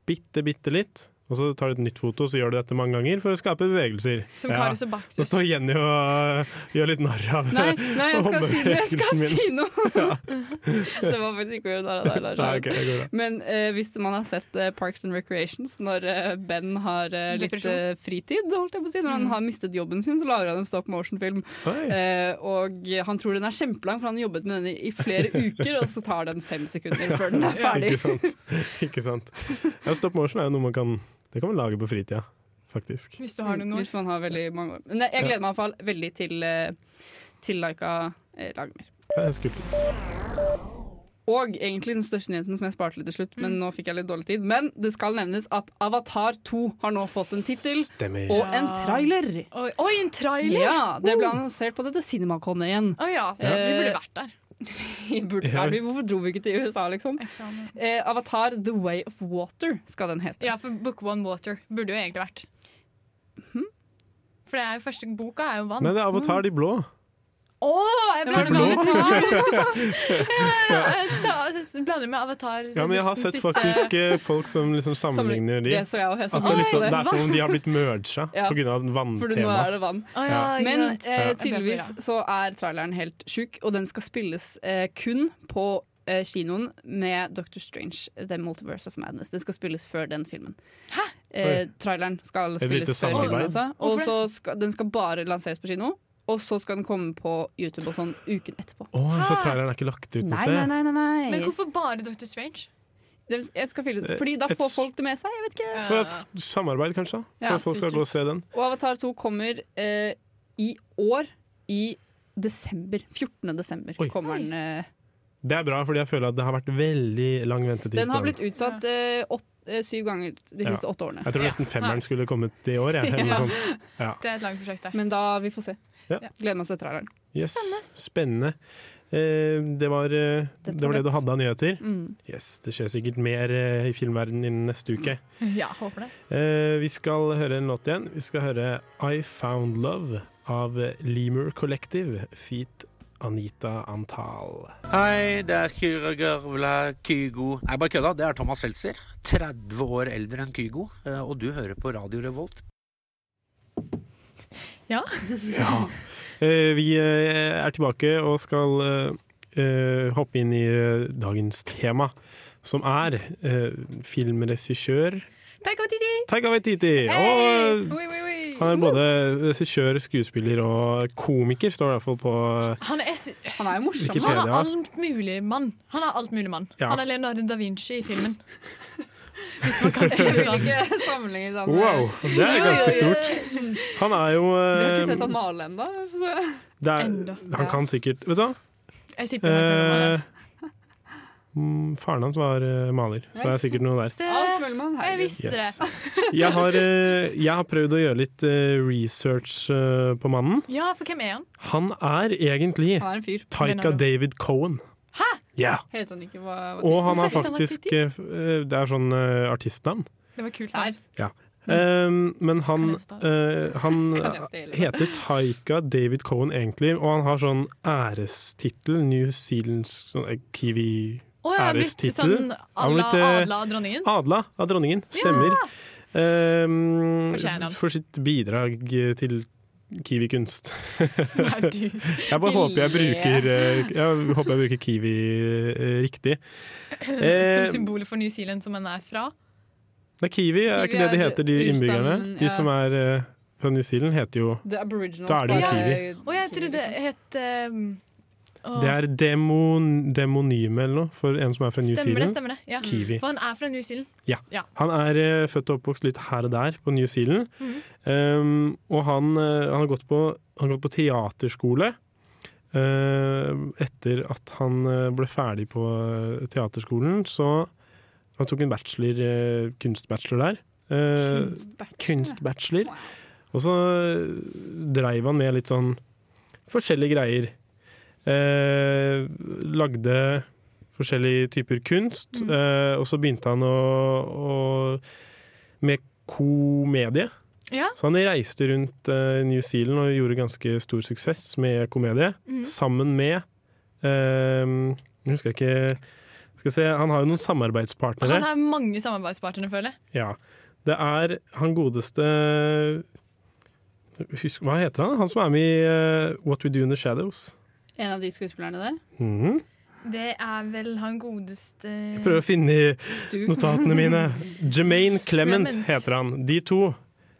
bitte, bitte litt. Og så tar du et nytt foto, så gjør du dette mange ganger for å skape bevegelser.
som
Ja.
Karius
Så
og Baktus.
står Jenny og eh, gjør litt narr av
Nei, nei jeg skal si det! Jeg skal
Håndbevegelsen min.
si
(laughs)
noe! (laughs) det var faktisk ikke å gjøre narr av deg, Lars.
Nei, ok, det går bra.
Men eh, hvis man har sett eh, Parks and Recreations når eh, Ben har eh, litt
Depresjon.
eh, fritid, holdt jeg på å si, når
Mhm.
han har mistet jobben sin, så lager han en stop motion-film.
Oi.
Eh, og han tror den er kjempelang, for han har jobbet med den i flere uker, og så tar den fem sekunder før den er ferdig.
Ikke sant. Ikke sant. Ja, stop motion er jo noe man kan Det kan man lage på fritida, faktisk.
Hvis du har det nå.
Hvis man har veldig mange år. Men jeg gleder meg i hvert fall veldig til, eh, til Laika eh, lager mer.
Det er skummelt.
Og egentlig den største nyheten som jeg sparte litt til slutt, men nå fikk jeg litt dårlig tid. Men det skal nevnes at Avatar 2 har nå fått en tittel
Stemmer.
og en trailer.
Oi, oi, en trailer! Å ja.
Ja, det ble annonsert på dette Cinemaconet igjen.
(laughs) Vi burde
Eh,
vært der.
I Burde,
Ja.
er vi, hvorfor dro vi ikke til USA, liksom?
Eksamen.
Eh, Avatar The Way of Water skal den hete.
Ja, for Book One Water burde jo egentlig vært. Hm? For det er jo første boka er jo vann.
Nei, det er Avatar de blå.
Å, jeg blander
men-
med Avatar! ja, jeg sa- jeg blander med Avatar.
Ja, men jeg har
den
sett
siste-
faktisk eh, folk som liksom sammenligner de.
Det så jeg og jeg så
At det, er
på
liksom, det
det.
er som om de har blitt merga
(laughs) Ja.
pga.
For nå er
vanntema.
det vann.
Å, Ah, ja, ikke
Men
sant.
eh,
Jeg ble
tydeligvis
forvirra.
så er traileren helt sjuk, og den skal spilles eh, kun på eh, kinoen med Doctor Strange, The Multiverse of Madness. Den skal spilles før den filmen. Eh, traileren skal
Et lite
spilles før
samarbeid.
filmen, altså.
Hvorfor
Og
det?
så skal, den skal bare lanseres på kino, og så skal den komme på YouTube og sånn uken etterpå.
Å, så traileren er ikke lagt ut noe
Nei,
sted?
nei, nei, nei, nei.
Men hvorfor bare Dr. Strange?
Den- Jeg skal fylle, fordi da
Eh, Et
får
s-
folk det med seg. Jeg vet ikke.
For f- samarbeid, kanskje? For
Ja,
at folk skal
sikkert.
gå og se den?
Og Avatar 2 kommer eh, i år i desember. 14. desember
Oi.
kommer den. Eh,
Det er bra, fordi jeg føler at det har vært veldig lang ventetid.
Den har
på
blitt utsatt eh, åt, eh, syv ganger de
Ja.
siste åtte årene.
Jeg tror nesten femmeren skulle kommet i år. Jeg,
(laughs)
eller noe sånt.
Det er et langt prosjekt, det.
Men da vi får se.
Ja.
Gleder meg til traileren.
Yes. Spennende. Eh, det, var, eh, det var det du hadde av nyheter. Yes, Det skjer sikkert mer eh, i filmverdenen innen neste uke.
Ja, håper det.
Eh, vi skal høre en låt igjen. Vi skal høre I Found Love av Lemur Collective feat. Anita Antal.
Hei, det er Kyra Garvla Kygo. Nei, bare kødda. Det er Thomas Seltzer. 30 år eldre enn Kygo. eh, Og du hører på Radio Revolt.
(laughs) Eh, vi eh, er tilbake og skal eh, eh, hoppe inn i eh, dagens tema, som er eh, filmregissør
Taika Waititi!
Taika Waititi.
Hey!
Og eh,
Oi, oi, oi.
Han er både regissør, skuespiller og komiker, står det iallfall på
Han er, s-
Han er jo morsom.
Wikipedia.
han er alt mulig mann. Han er alt mulig mann.
Ja.
Han er Leonardo da Vinci i
(laughs)
filmen.
Jeg vil ikke sammenligne sånn, eh. det.
Wow, det er ganske stort. Han er jo
Vi har
eh,
ikke sett han male ennå.
det er,
Enda.
Han kan sikkert Vet du hva?
(laughs) Jeg tipper han kan være
Eh,
det.
mm, faren hans var eh, maler, så det er sikkert noe der.
Se,
Alt mulig mann.
jeg visste det.
Yes. Jeg har, eh, jeg har prøvd å gjøre litt eh, research eh, på mannen.
Ja, for hvem er han?
Han er egentlig
Han er en fyr.
Taika
Leonardo.
David Cohen. Hæ? Ja.
Helt han ikke var
Og han har
Hvorfor heter han
faktisk eh, f- eh, Det er sånn eh, artistnavn.
Det var kult.
Sær.
navn.
Um, men
Mm. Kan
han,
jeg stå?
eh,
(laughs)
han
Kan jeg stille?
heter Taika David Cohen egentlig, og han har sånn ærestittel. New Zealands sånn, eh, Kiwi
Å, jeg har blitt
Ærestittel. Han
sånn
har
Adla,
blitt, eh,
Adla og
(laughs)
dronningen.
Adla av dronningen. Stemmer. Um,
Fortjener han.
for sitt bidrag eh, til Kiwi-kunst.
Nei, du.
Jeg bare
Til
håper jeg bruker, eh, jeg håper jeg bruker Kiwi eh, riktig. Eh,
(laughs) Som symbolet for New Zealand, som han er fra.
nei, Kiwi er
Kiwi
ikke det de
er
heter, de
urstanden,
innbyggerne.
ja.
De som er eh, fra New Zealand, heter jo
The Aboriginals.
Da er det jo
Ja,
kiwi.
Og jeg trodde det het eh, å,
Det er demon, demonyme eller noe for en som er fra New
Stemmer det,
Zealand.
stemmer det. Ja.
Kiwi.
For han er fra New Zealand.
Han er eh, født og oppvokst litt her og der på New Zealand. Um, og han, eh, han, har gått på, han har gått på teaterskole eh, etter at han eh, ble ferdig på eh, teaterskolen. Så han tok en bachelor, eh, kunstbachelor der. Eh, kunstbachelor. Og så dreiv han med litt sånn forskjellige greier. Eh, lagde forskjellige typer kunst,
Mm.
eh, og så begynte han å, å med komedie.
Ja.
Så han reiste rundt eh, New Zealand og gjorde ganske stor suksess med komedie,
Mm.
sammen med eh, Jeg husker ikke skal se, Han har jo noen samarbeidspartnere.
Han har mange samarbeidspartnere, føler jeg.
Ja. Det er han godeste Husk, Hva heter han? Han som er med i eh, What We Do In The Shadows.
En av de skuespillerne der.
Mhm.
Det er vel han godeste
Jeg prøver å finne i
Stu.
notatene mine. Jermaine Clement
Clement.
heter han. De to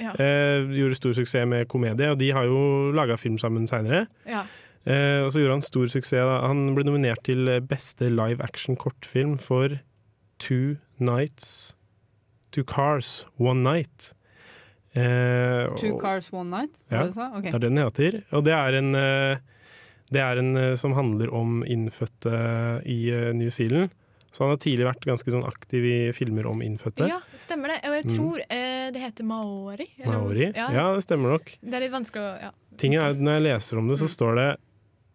Ja.
eh, gjorde stor suksess med komedie, og de har jo laga film sammen seinere.
Ja.
Eh, og så gjorde han stor suksess. Da. Han ble nominert til beste live action kortfilm for Two Nights Two Cars One Night. Eh,
Two
og-
Cars One Night,
Ja.
var det du sa?
(laughs)
Ok.
det er den det heter. Og det er en, eh, det er en eh, som handler om innfødte i eh, New Zealand. Så han har tidlig vært ganske sånn aktiv i filmer om innfødte.
ja, stemmer det. Og jeg
Mm.
tror eh, det heter maori. eller noe-
Maori.
Ja.
Ja. det stemmer nok.
Det er litt vanskelig å ja.
Tingen er, at Når jeg leser om det,
Mm.
så står det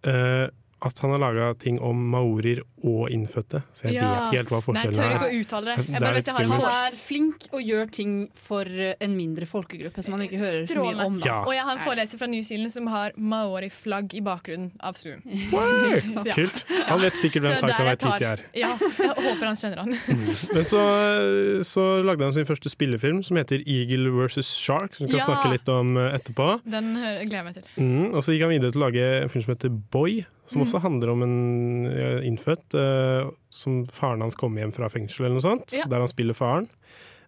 eh, at han har laga ting om maorier og innfødte. Så jeg
Ja.
vet ikke helt hva
Nei, jeg tør
forskjellen
ikke
er.
å uttale det.
Det
Jeg
er litt
bare vet jeg har
Han
en
er flink og gjør ting for en mindre folkegruppe som man ikke hører så mye
Strålende.
om. Da.
Ja.
Og jeg har en foreleser fra New Zealand som har maori-flagg i bakgrunnen av Zoom.
Wow!
Så (laughs) ja.
Kult! Han vet sikkert hvem
Så der
Taika
jeg tar-
Waititi er.
Ja, jeg håper han kjenner han.
Men så, så lagde han sin første spillefilm, som heter Eagle vs. Shark, som vi kan
Ja.
snakke litt om eh, etterpå.
Den hører- gleder jeg meg til.
Mm, og så gikk han videre til å lage en film som heter Boy, som
Mm.
også handler om en eh, innfødt eh, som faren hans kommer hjem fra fengsel eller noe sånt,
Ja.
der han spiller faren.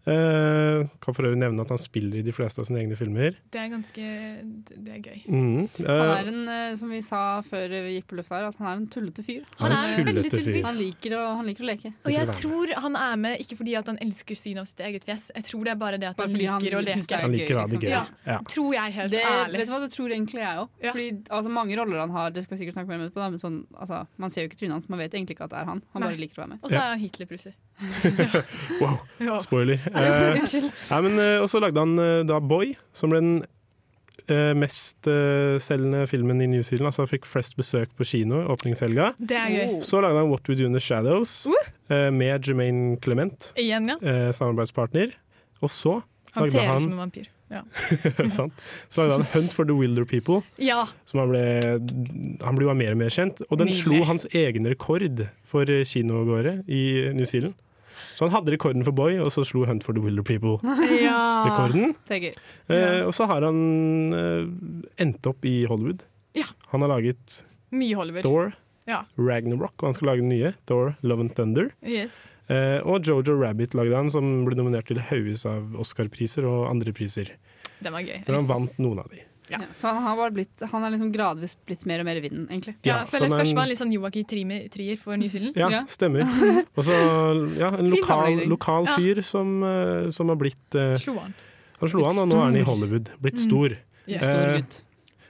Eh, kan for øvrig nevne at han spiller i de fleste av sine egne filmer.
Det er ganske Det er gøy.
Mm. eh,
Han er en, eh, som vi sa før vi gikk på lufta her, at han er en tullete fyr.
Han
Han
er en
er veldig
tullete
tullete
fyr.
fyr.
Han liker å, han liker å leke.
Og jeg tror han er med ikke fordi at han elsker synet av sitt eget fjes, jeg tror det er bare det at
Bare
han
fordi han
liker
synes
å
det
leke.
er
han liker å ha det
gøy,
gøy.
liksom.
Ja.
Tror jeg helt
Det,
ærlig.
vet du hva, det tror egentlig jeg òg.
Ja.
Altså, mange roller han har, det skal vi sikkert snakke mer om etterpå, da, men sånn, altså, man ser jo ikke trynet hans, man vet egentlig ikke at det er han. Han
Nei.
bare liker å være med.
Og så er han Hitler-prusser.
(laughs) Wow,
(laughs)
(laughs)
Ja.
spoiler. (laughs) Eh,
(laughs) Unnskyld.
nei, men, eh, og så lagde han eh, da Boy, som ble den eh, mest eh, selgende filmen i New Zealand. Altså han fikk flest besøk på kino i åpningshelga.
Det er gøy.
Oh,
Så lagde han What We Do In The Shadows eh, med Jermaine Clement.
Igjen, ja.
eh, samarbeidspartner. Og så (laughs)
Han
lagde
ser
han-
ut som en vampyr. Ja.
sant, så lagde han Hunt for the Wilder People,
ja.
(laughs)
som han ble Han ble jo mer og mer kjent. Og den
Nydelig.
slo hans egen rekord for eh, kinogåere i New Zealand. Så han hadde rekorden for Boy, og så slo Hunt for the Wilder
Ah. ja.
People-rekorden.
Det er gøy.
Eh, og så har han eh, endt opp i Hollywood.
Ja.
Han har laget
Mye Hollywood.
Thor,
Ja.
Ragnarok, og han skal lage den nye. Thor, Love and Thunder.
Yes.
Eh, og Jojo Rabbit lagde han, som ble nominert til hauges av Oscar-priser og andre priser.
Den var gøy.
Men han vant noen av de.
Ja. Så han har bare blitt Han er liksom gradvis blitt mer og mer i vinden, egentlig.
Ja,
Ja,
jeg føler
sånn en-
Først var han litt sånn Joakim Trier Trier for New Zealand.
Ja,
Ja.
(laughs)
stemmer. Og så ja, en
Fin
lokal,
sammenligning.
lokal
Ja.
fyr som, eh, som har blitt eh,
Slo han.
Han slo han, og nå er han i Hollywood. Blitt
Mm.
stor.
Yes.
Eh,
Stor gutt.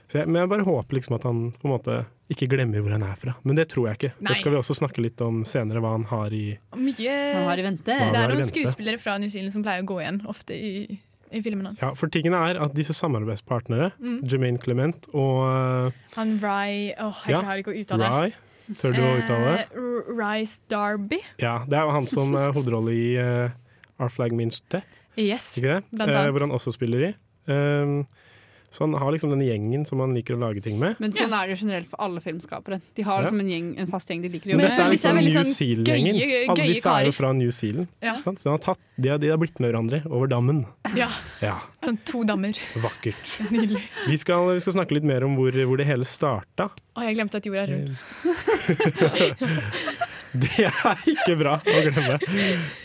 Så jeg, men jeg bare håper liksom at han på en måte ikke glemmer hvor han er fra. Men det tror jeg ikke.
Nei.
Det skal vi også snakke litt om senere, hva han har i
Mye
Han har i vente.
Ja.
Det
Han
er
har i
noen
vente.
skuespillere fra New Zealand som pleier å gå igjen ofte i, i filmen hans.
Ja, for tingene er at disse samarbeidspartnere,
Mm.
Jermaine Clement og eh,
Han Ry Åh, jeg
Ja.
klarer ikke å uttale det.
Rye Tør du å uttale det?
Eh, R- Rice Darby.
Ja, det er jo han som er hovedrolle i eh, Our Flag Means Death,
Yes.
ikke det?
Blant
Eh,
annet.
hvor han også spiller i. Um, så han har liksom den gjengen som han liker å lage ting med.
Men sånn er det jo generelt for alle filmskapere. De har
Ja.
liksom en, gjeng, en fast gjeng de liker å
Men
jobbe
dette er
med.
disse er
liksom
veldig
New
sånn
Zealand-gjengen.
gøye-
Alle
gøye
disse er
karer.
jo fra New Zealand.
Ja.
Sant? Så han har tatt, de, har, de har blitt med hverandre over dammen.
Ja,
Ja,
sånn to dammer.
Vakkert.
(laughs) Nydelig.
Vi skal, vi skal snakke litt mer om hvor, hvor det hele starta.
Å, jeg glemte at jorda er rund.
(laughs) Det er ikke bra å glemme.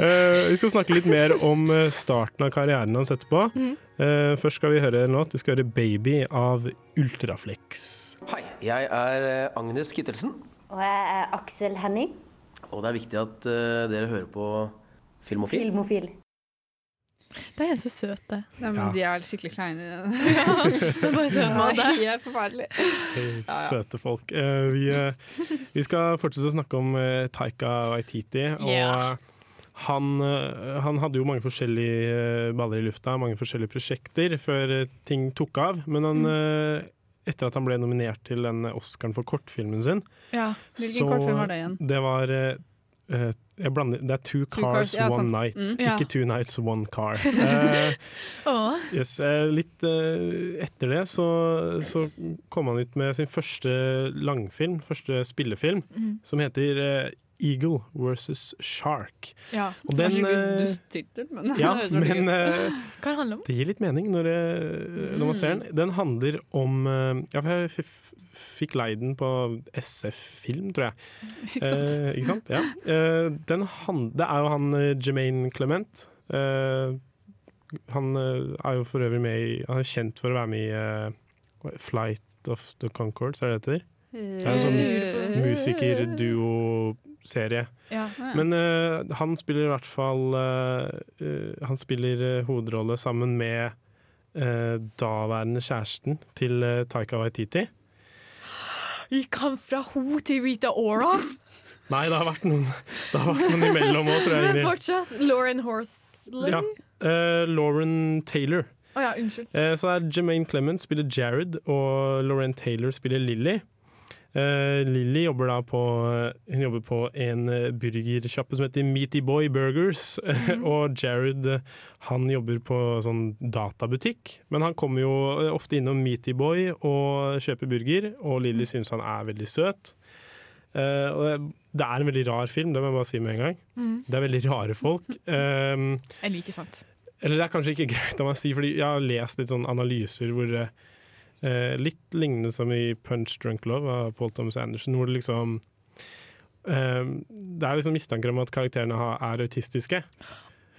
Eh, vi skal snakke litt mer om eh, starten av karrieren hans etterpå.
Mm.
Eh, først skal vi høre en låt. Vi skal høre 'Baby' av Ultraflex.
Hei, jeg er eh, Agnes Kittelsen,
Og jeg er Aksel Henning,
og det er viktig at eh, dere hører på Filmofil.
filmofil.
De er så søte.
Nei, men
Ja.
De er skikkelig (laughs) kleine.
De er bare søte med
Det
det.
er helt forferdelig.
Hei,
(laughs) Ja, ja.
Søte folk. Eh, vi, eh, vi skal fortsette å snakke om eh, Taika Waititi. Og
Yeah.
eh, han, eh, han hadde jo mange forskjellige eh, baller i lufta, mange forskjellige prosjekter, før eh, ting tok av. Men han,
Mm.
eh, etter at han ble nominert til den Oscaren for kortfilmen sin,
Ja.
Hvilken kortfilm var det igjen?
Det var eh, eh, jeg blander, Det er Two Cars,
Cars, ja,
One
sant.
Night.
Mm.
Ja.
Ikke Two Nights, One
(laughs)
Car. Eh,
Åh.
yes, eh, litt eh, etter det så, så kom han ut med sin første langfilm, første spillefilm,
Mm.
som heter eh, Eagle versus Shark.
ja.
Og
Den,
den eh,
(laughs) dust tittel, men
ja,
det høres veldig
men
gøy ut.
eh,
Hva handler det om?
det gir litt mening når, jeg, når man ser
Mm.
den. Den handler om eh, ja, for Jeg f- fikk leid den på SF-film, tror jeg.
Ikke sant?
Eh, ikke sant? Ja. Eh, den han, det er jo han eh, Jermaine Clement. Eh, han eh, er jo for øvrig med i Han er kjent for å være med i eh, hva- Flight of the Concords, er det det heter?
Det
er en
sånn
Musikerduo-serie.
Ja.
Men eh, han spiller i hvert fall eh, eh, Han spiller eh, hovedrolle sammen med eh, daværende kjæresten til eh, Taika Waititi.
Gikk han fra ho til Rita Ora?
Nei, det har vært noen, (laughs) det har vært noen imellom òg, tror jeg.
Men
Ingrid.
fortsatt Lauren Horsley?
Ja.
Å
Eh, Lauren Taylor.
ja, unnskyld.
Eh, så er Jermaine Clement spiller Jared, og Lauren Taylor spiller Lilly. Eh, Lilly jobber da på Hun jobber på en eh, burgersjappe som heter Meaty Boy Burgers. (laughs) og Jared eh, han jobber på sånn databutikk, men han kommer jo eh, ofte innom Meaty Boy og kjøper burger, og Lilly syns han er veldig søt. Eh, og det- det er en veldig rar film, det må jeg bare si med en gang. Det er veldig rare folk. Um,
Mm. Jeg liker sånt.
eller det er kanskje ikke greit om jeg sier, fordi jeg har lest litt sånn analyser hvor eh, eh, Litt lignende som i 'Punch Drunk Love' av Paul Thomas Anderson, hvor det liksom eh, Det er liksom mistanker om at karakterene har, er autistiske,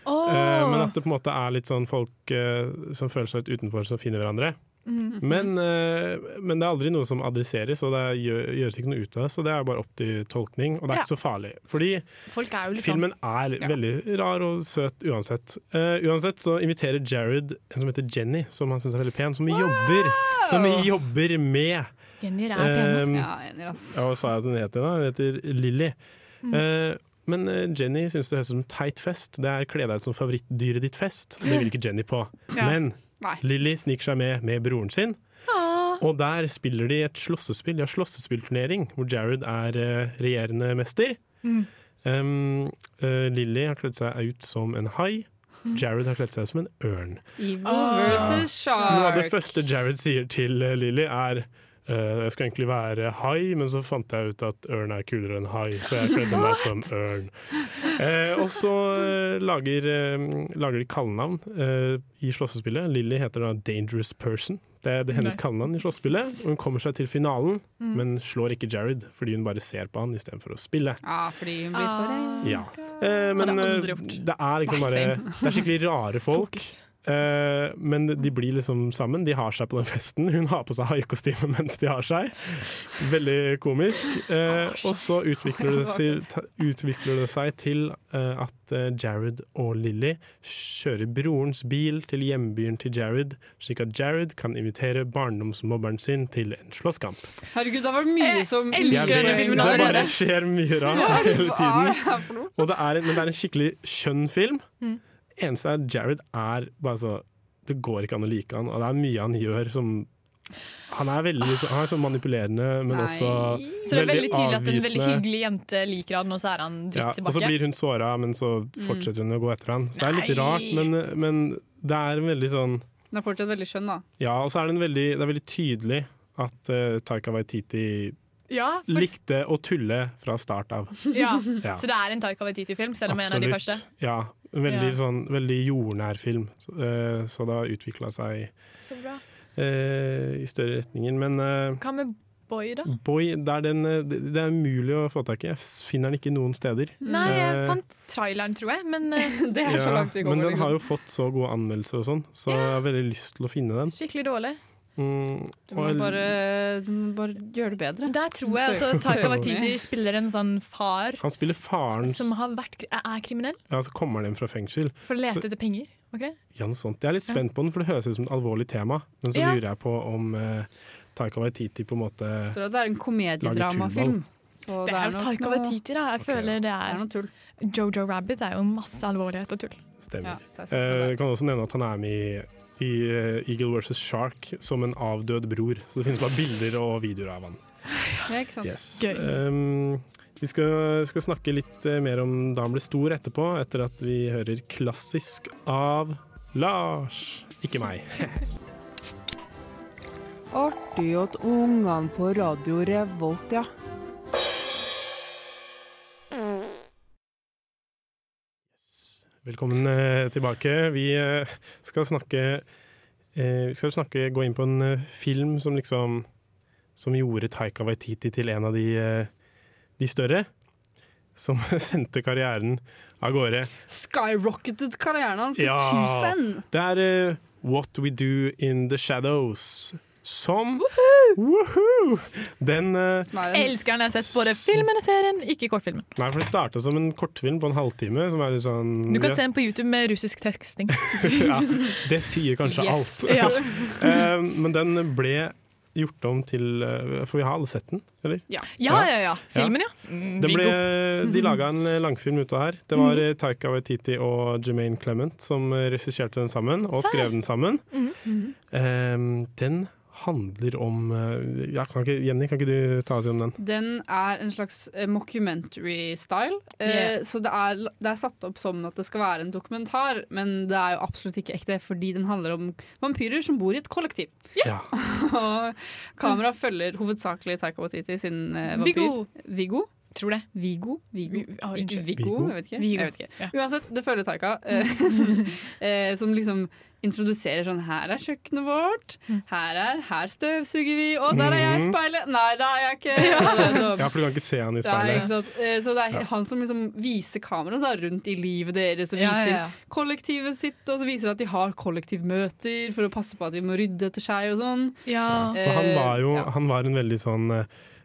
Åh.
eh, men at det på en måte er litt sånn folk eh, som føler seg litt utenfor, som finner hverandre.
Mhm.
Men, eh, men det er aldri noe som adresseres, og det er- gjør, gjøres ikke noe ut av det, så det er bare opp til tolkning, og det er ikke så farlig. Fordi
Folk er jo litt sånn
Filmen er veldig rar og søt uansett. Eh, uansett så inviterer Jared en som heter Jenny, som han syns er veldig pen, som jobber Som jobber med
Jenny sånn er pen, ass.
Eh,
Ja, enig, ass.
Ja, hva sa jeg at hun heter? da? Hun heter Lilly.
Mm.
Eh, men eh, Jenny syns det høres ut som teit fest. Det er kle deg ut som favorittdyret ditt fest. Det vil ikke Jenny på.
Ja.
Men
Nei.
Lilly sniker seg med med broren sin.
Åh.
Og der spiller de et slåssespill, de har slåssespillturnering, hvor Jared er eh, regjerende mester.
Mm.
Um, eh, Lilly har kledd seg ut som en hai.
Mm.
Jared har kledd seg ut som en ørn.
Eagle
Ah.
versus
Noe av det
Shark.
første Jared sier til eh, Lilly, er eh, jeg skal egentlig være hai, men så fant jeg ut at ørn er kulere enn hai, så jeg kledde meg som ørn. Eh, og så eh, lager, eh, lager de kallenavn eh, i slåssespillet. Lilly heter da Dangerous Person. Det er det hennes kallenavn i slåssespillet. Og hun kommer seg til finalen,
Mm.
men slår ikke Jared, fordi hun bare ser på han istedenfor å spille.
Ja, fordi hun blir for
Ah.
Ja. Eh, men
Hadde
eh,
aldri gjort.
det er liksom
Nei,
bare
same. (laughs)
Det er skikkelig rare folk.
Fokus.
Eh, men de blir liksom sammen. De har seg på den festen. Hun har på seg haikostyme mens de har seg. Veldig komisk. Eh, og så utvikler
(laughs)
det seg, ta- utvikler det seg til eh, at eh, Jared og Lilly kjører brorens bil til hjembyen til Jared, slik at Jared kan invitere barndomsmobberen sin til en slåsskamp.
Herregud, det var mye
Jeg
som
elsker
Jeg
denne
vet,
filmen
Det
allerede.
bare skjer mye rart (laughs) hele tiden. Og det er en, men det er en skikkelig skjønn film.
Mm.
Eneste er Jared er bare så Det går ikke an å like han, og det er mye han gjør som Han er veldig liksom- han er så manipulerende, men
Nei.
også
Så det er veldig tydelig at en veldig
avvisende.
hyggelig jente liker han, og så er han dritt
ja, Og så
tilbake. Mm.
blir hun såra, men så fortsetter hun å gå etter han. Så det er litt
Nei.
rart, men, men det er en veldig sånn
Den er fortsatt veldig skjønn, da.
Ja, og så er det, en veldig, det er veldig tydelig at eh, Taika Waititi
Ja, for,
likte å tulle fra start av.
ja. (laughs)
Ja.
Så det er en Taika Waititi-film, selv om jeg er en av de første.
Ja. en Veldig,
Ja.
Sånn, veldig jordnær film. Så, eh, så det har utvikla seg
Så bra.
eh, i større retninger. Men eh,
Hva med Boy, da?
Boy, det er, den, eh, det det er umulig å få tak i. Jeg finner den ikke noen steder.
Nei, jeg
Eh.
fant traileren, tror jeg, men eh,
(laughs) Det er så
Ja,
langt vi kommer.
men den
liksom.
har jo fått så gode anmeldelser og sånn, så jeg har veldig lyst til å finne den.
skikkelig dårlig.
Mm,
du, må
og-
bare, du må bare gjøre det bedre.
Der tror jeg altså Taika Waititi spiller en sånn far
han spiller faren
som har vært, kri- er kriminell,
Ja, så kommer han hjem fra fengsel.
for å lete etter penger. var ikke det?
Ja, noe sånt. Jeg er litt spent på den, for det høres ut som et alvorlig tema. Men så
Ja.
lurer jeg på om eh, Taika Waititi på en måte
Så det er en
Lager
komediedrama-film. Så
Det er jo
nok
Taika
noe-
Waititi, da. Jeg føler det
Det er
er
noe tull.
Jojo Rabbit er jo masse alvorlighet og tull.
stemmer.
Ja, det er sant, det
Jeg
er.
Eh, kan også nevne at han er med i, i eh, Eagle vs. Shark som en avdød bror. Så det finnes bare bilder og videoer av han.
Ja, ikke sant?
Yes.
Gøy.
Ehm, vi skal, skal snakke litt eh, mer om da han ble stor etterpå, etter at vi hører 'Klassisk' av Lars. Ikke meg.
Artig at ungene på Radio Revolt, ja.
Velkommen eh, tilbake. Vi eh, skal snakke eh, Vi skal snakke, gå inn på en eh, film som liksom Som gjorde Taika Waititi til en av de, eh, de større. Som (laughs) sendte karrieren av gårde.
Skyrocketed karrieren hans til
Ja.
1000!
Det er eh, What We Do In The Shadows. Som Woohoo! Den eh,
Som er en,
Elsker den. Jeg har sett både filmen og serien, ikke kortfilmen.
Nei, for det starta som en kortfilm på en halvtime. Som er litt sånn
Du kan
ja,
se den på YouTube med russisk teksting.
ja, Det sier kanskje alt.
(laughs) yes.
Ja.
Eh, men den ble gjort om til eh, For vi har alle sett den, eller?
Ja, ja, ja. Filmen, ja. Mm,
Den ble,
Viggo.
Mhm.
de laga en eh, langfilm ut av her. Det var eh, Taika Waititi og Jermaine Clement som eh, regisserte den sammen, og
Serr?
skrev den sammen.
Mhm.
Eh, den handler om eh, jeg kan ikke, Jenny, kan ikke du ta oss gjennom den?
Den er en slags eh, mockumentary style. Eh,
Yeah.
Så det er, det er satt opp som at det skal være en dokumentar, men det er jo absolutt ikke ekte, fordi den handler om vampyrer som bor i et kollektiv.
Ja.
(laughs) Og kameraet følger hovedsakelig Taika Waititi sin eh, vampyr.
Viggo.
Viggo.
Tror det.
Vigo? Vigo?
Vi- ah,
Ikke
unnskyld.
Viggo?
Viggo?
Jeg vet ikke.
Viggo.
Jeg vet ikke.
Ja.
Uansett, det følger
(laughs)
Taika, eh, (laughs) eh, som liksom introduserer sånn Her er kjøkkenet vårt,
Mm.
her er Her støvsuger vi, og der er jeg i
Mhm.
speilet! Nei, det er jeg ikke!
(laughs)
Og (laughs) det er sånn-
ja, for du kan ikke se han i
Nei,
speilet.
ikke sant? Eh, Så det er han som liksom viser kameraet da, rundt i livet deres, og
Ja,
viser
ja, ja.
kollektivet sitt, og så viser at de har kollektivmøter for å passe på at de må rydde etter seg og sånn.
Ja.
For han var jo
ja.
han var en veldig sånn eh,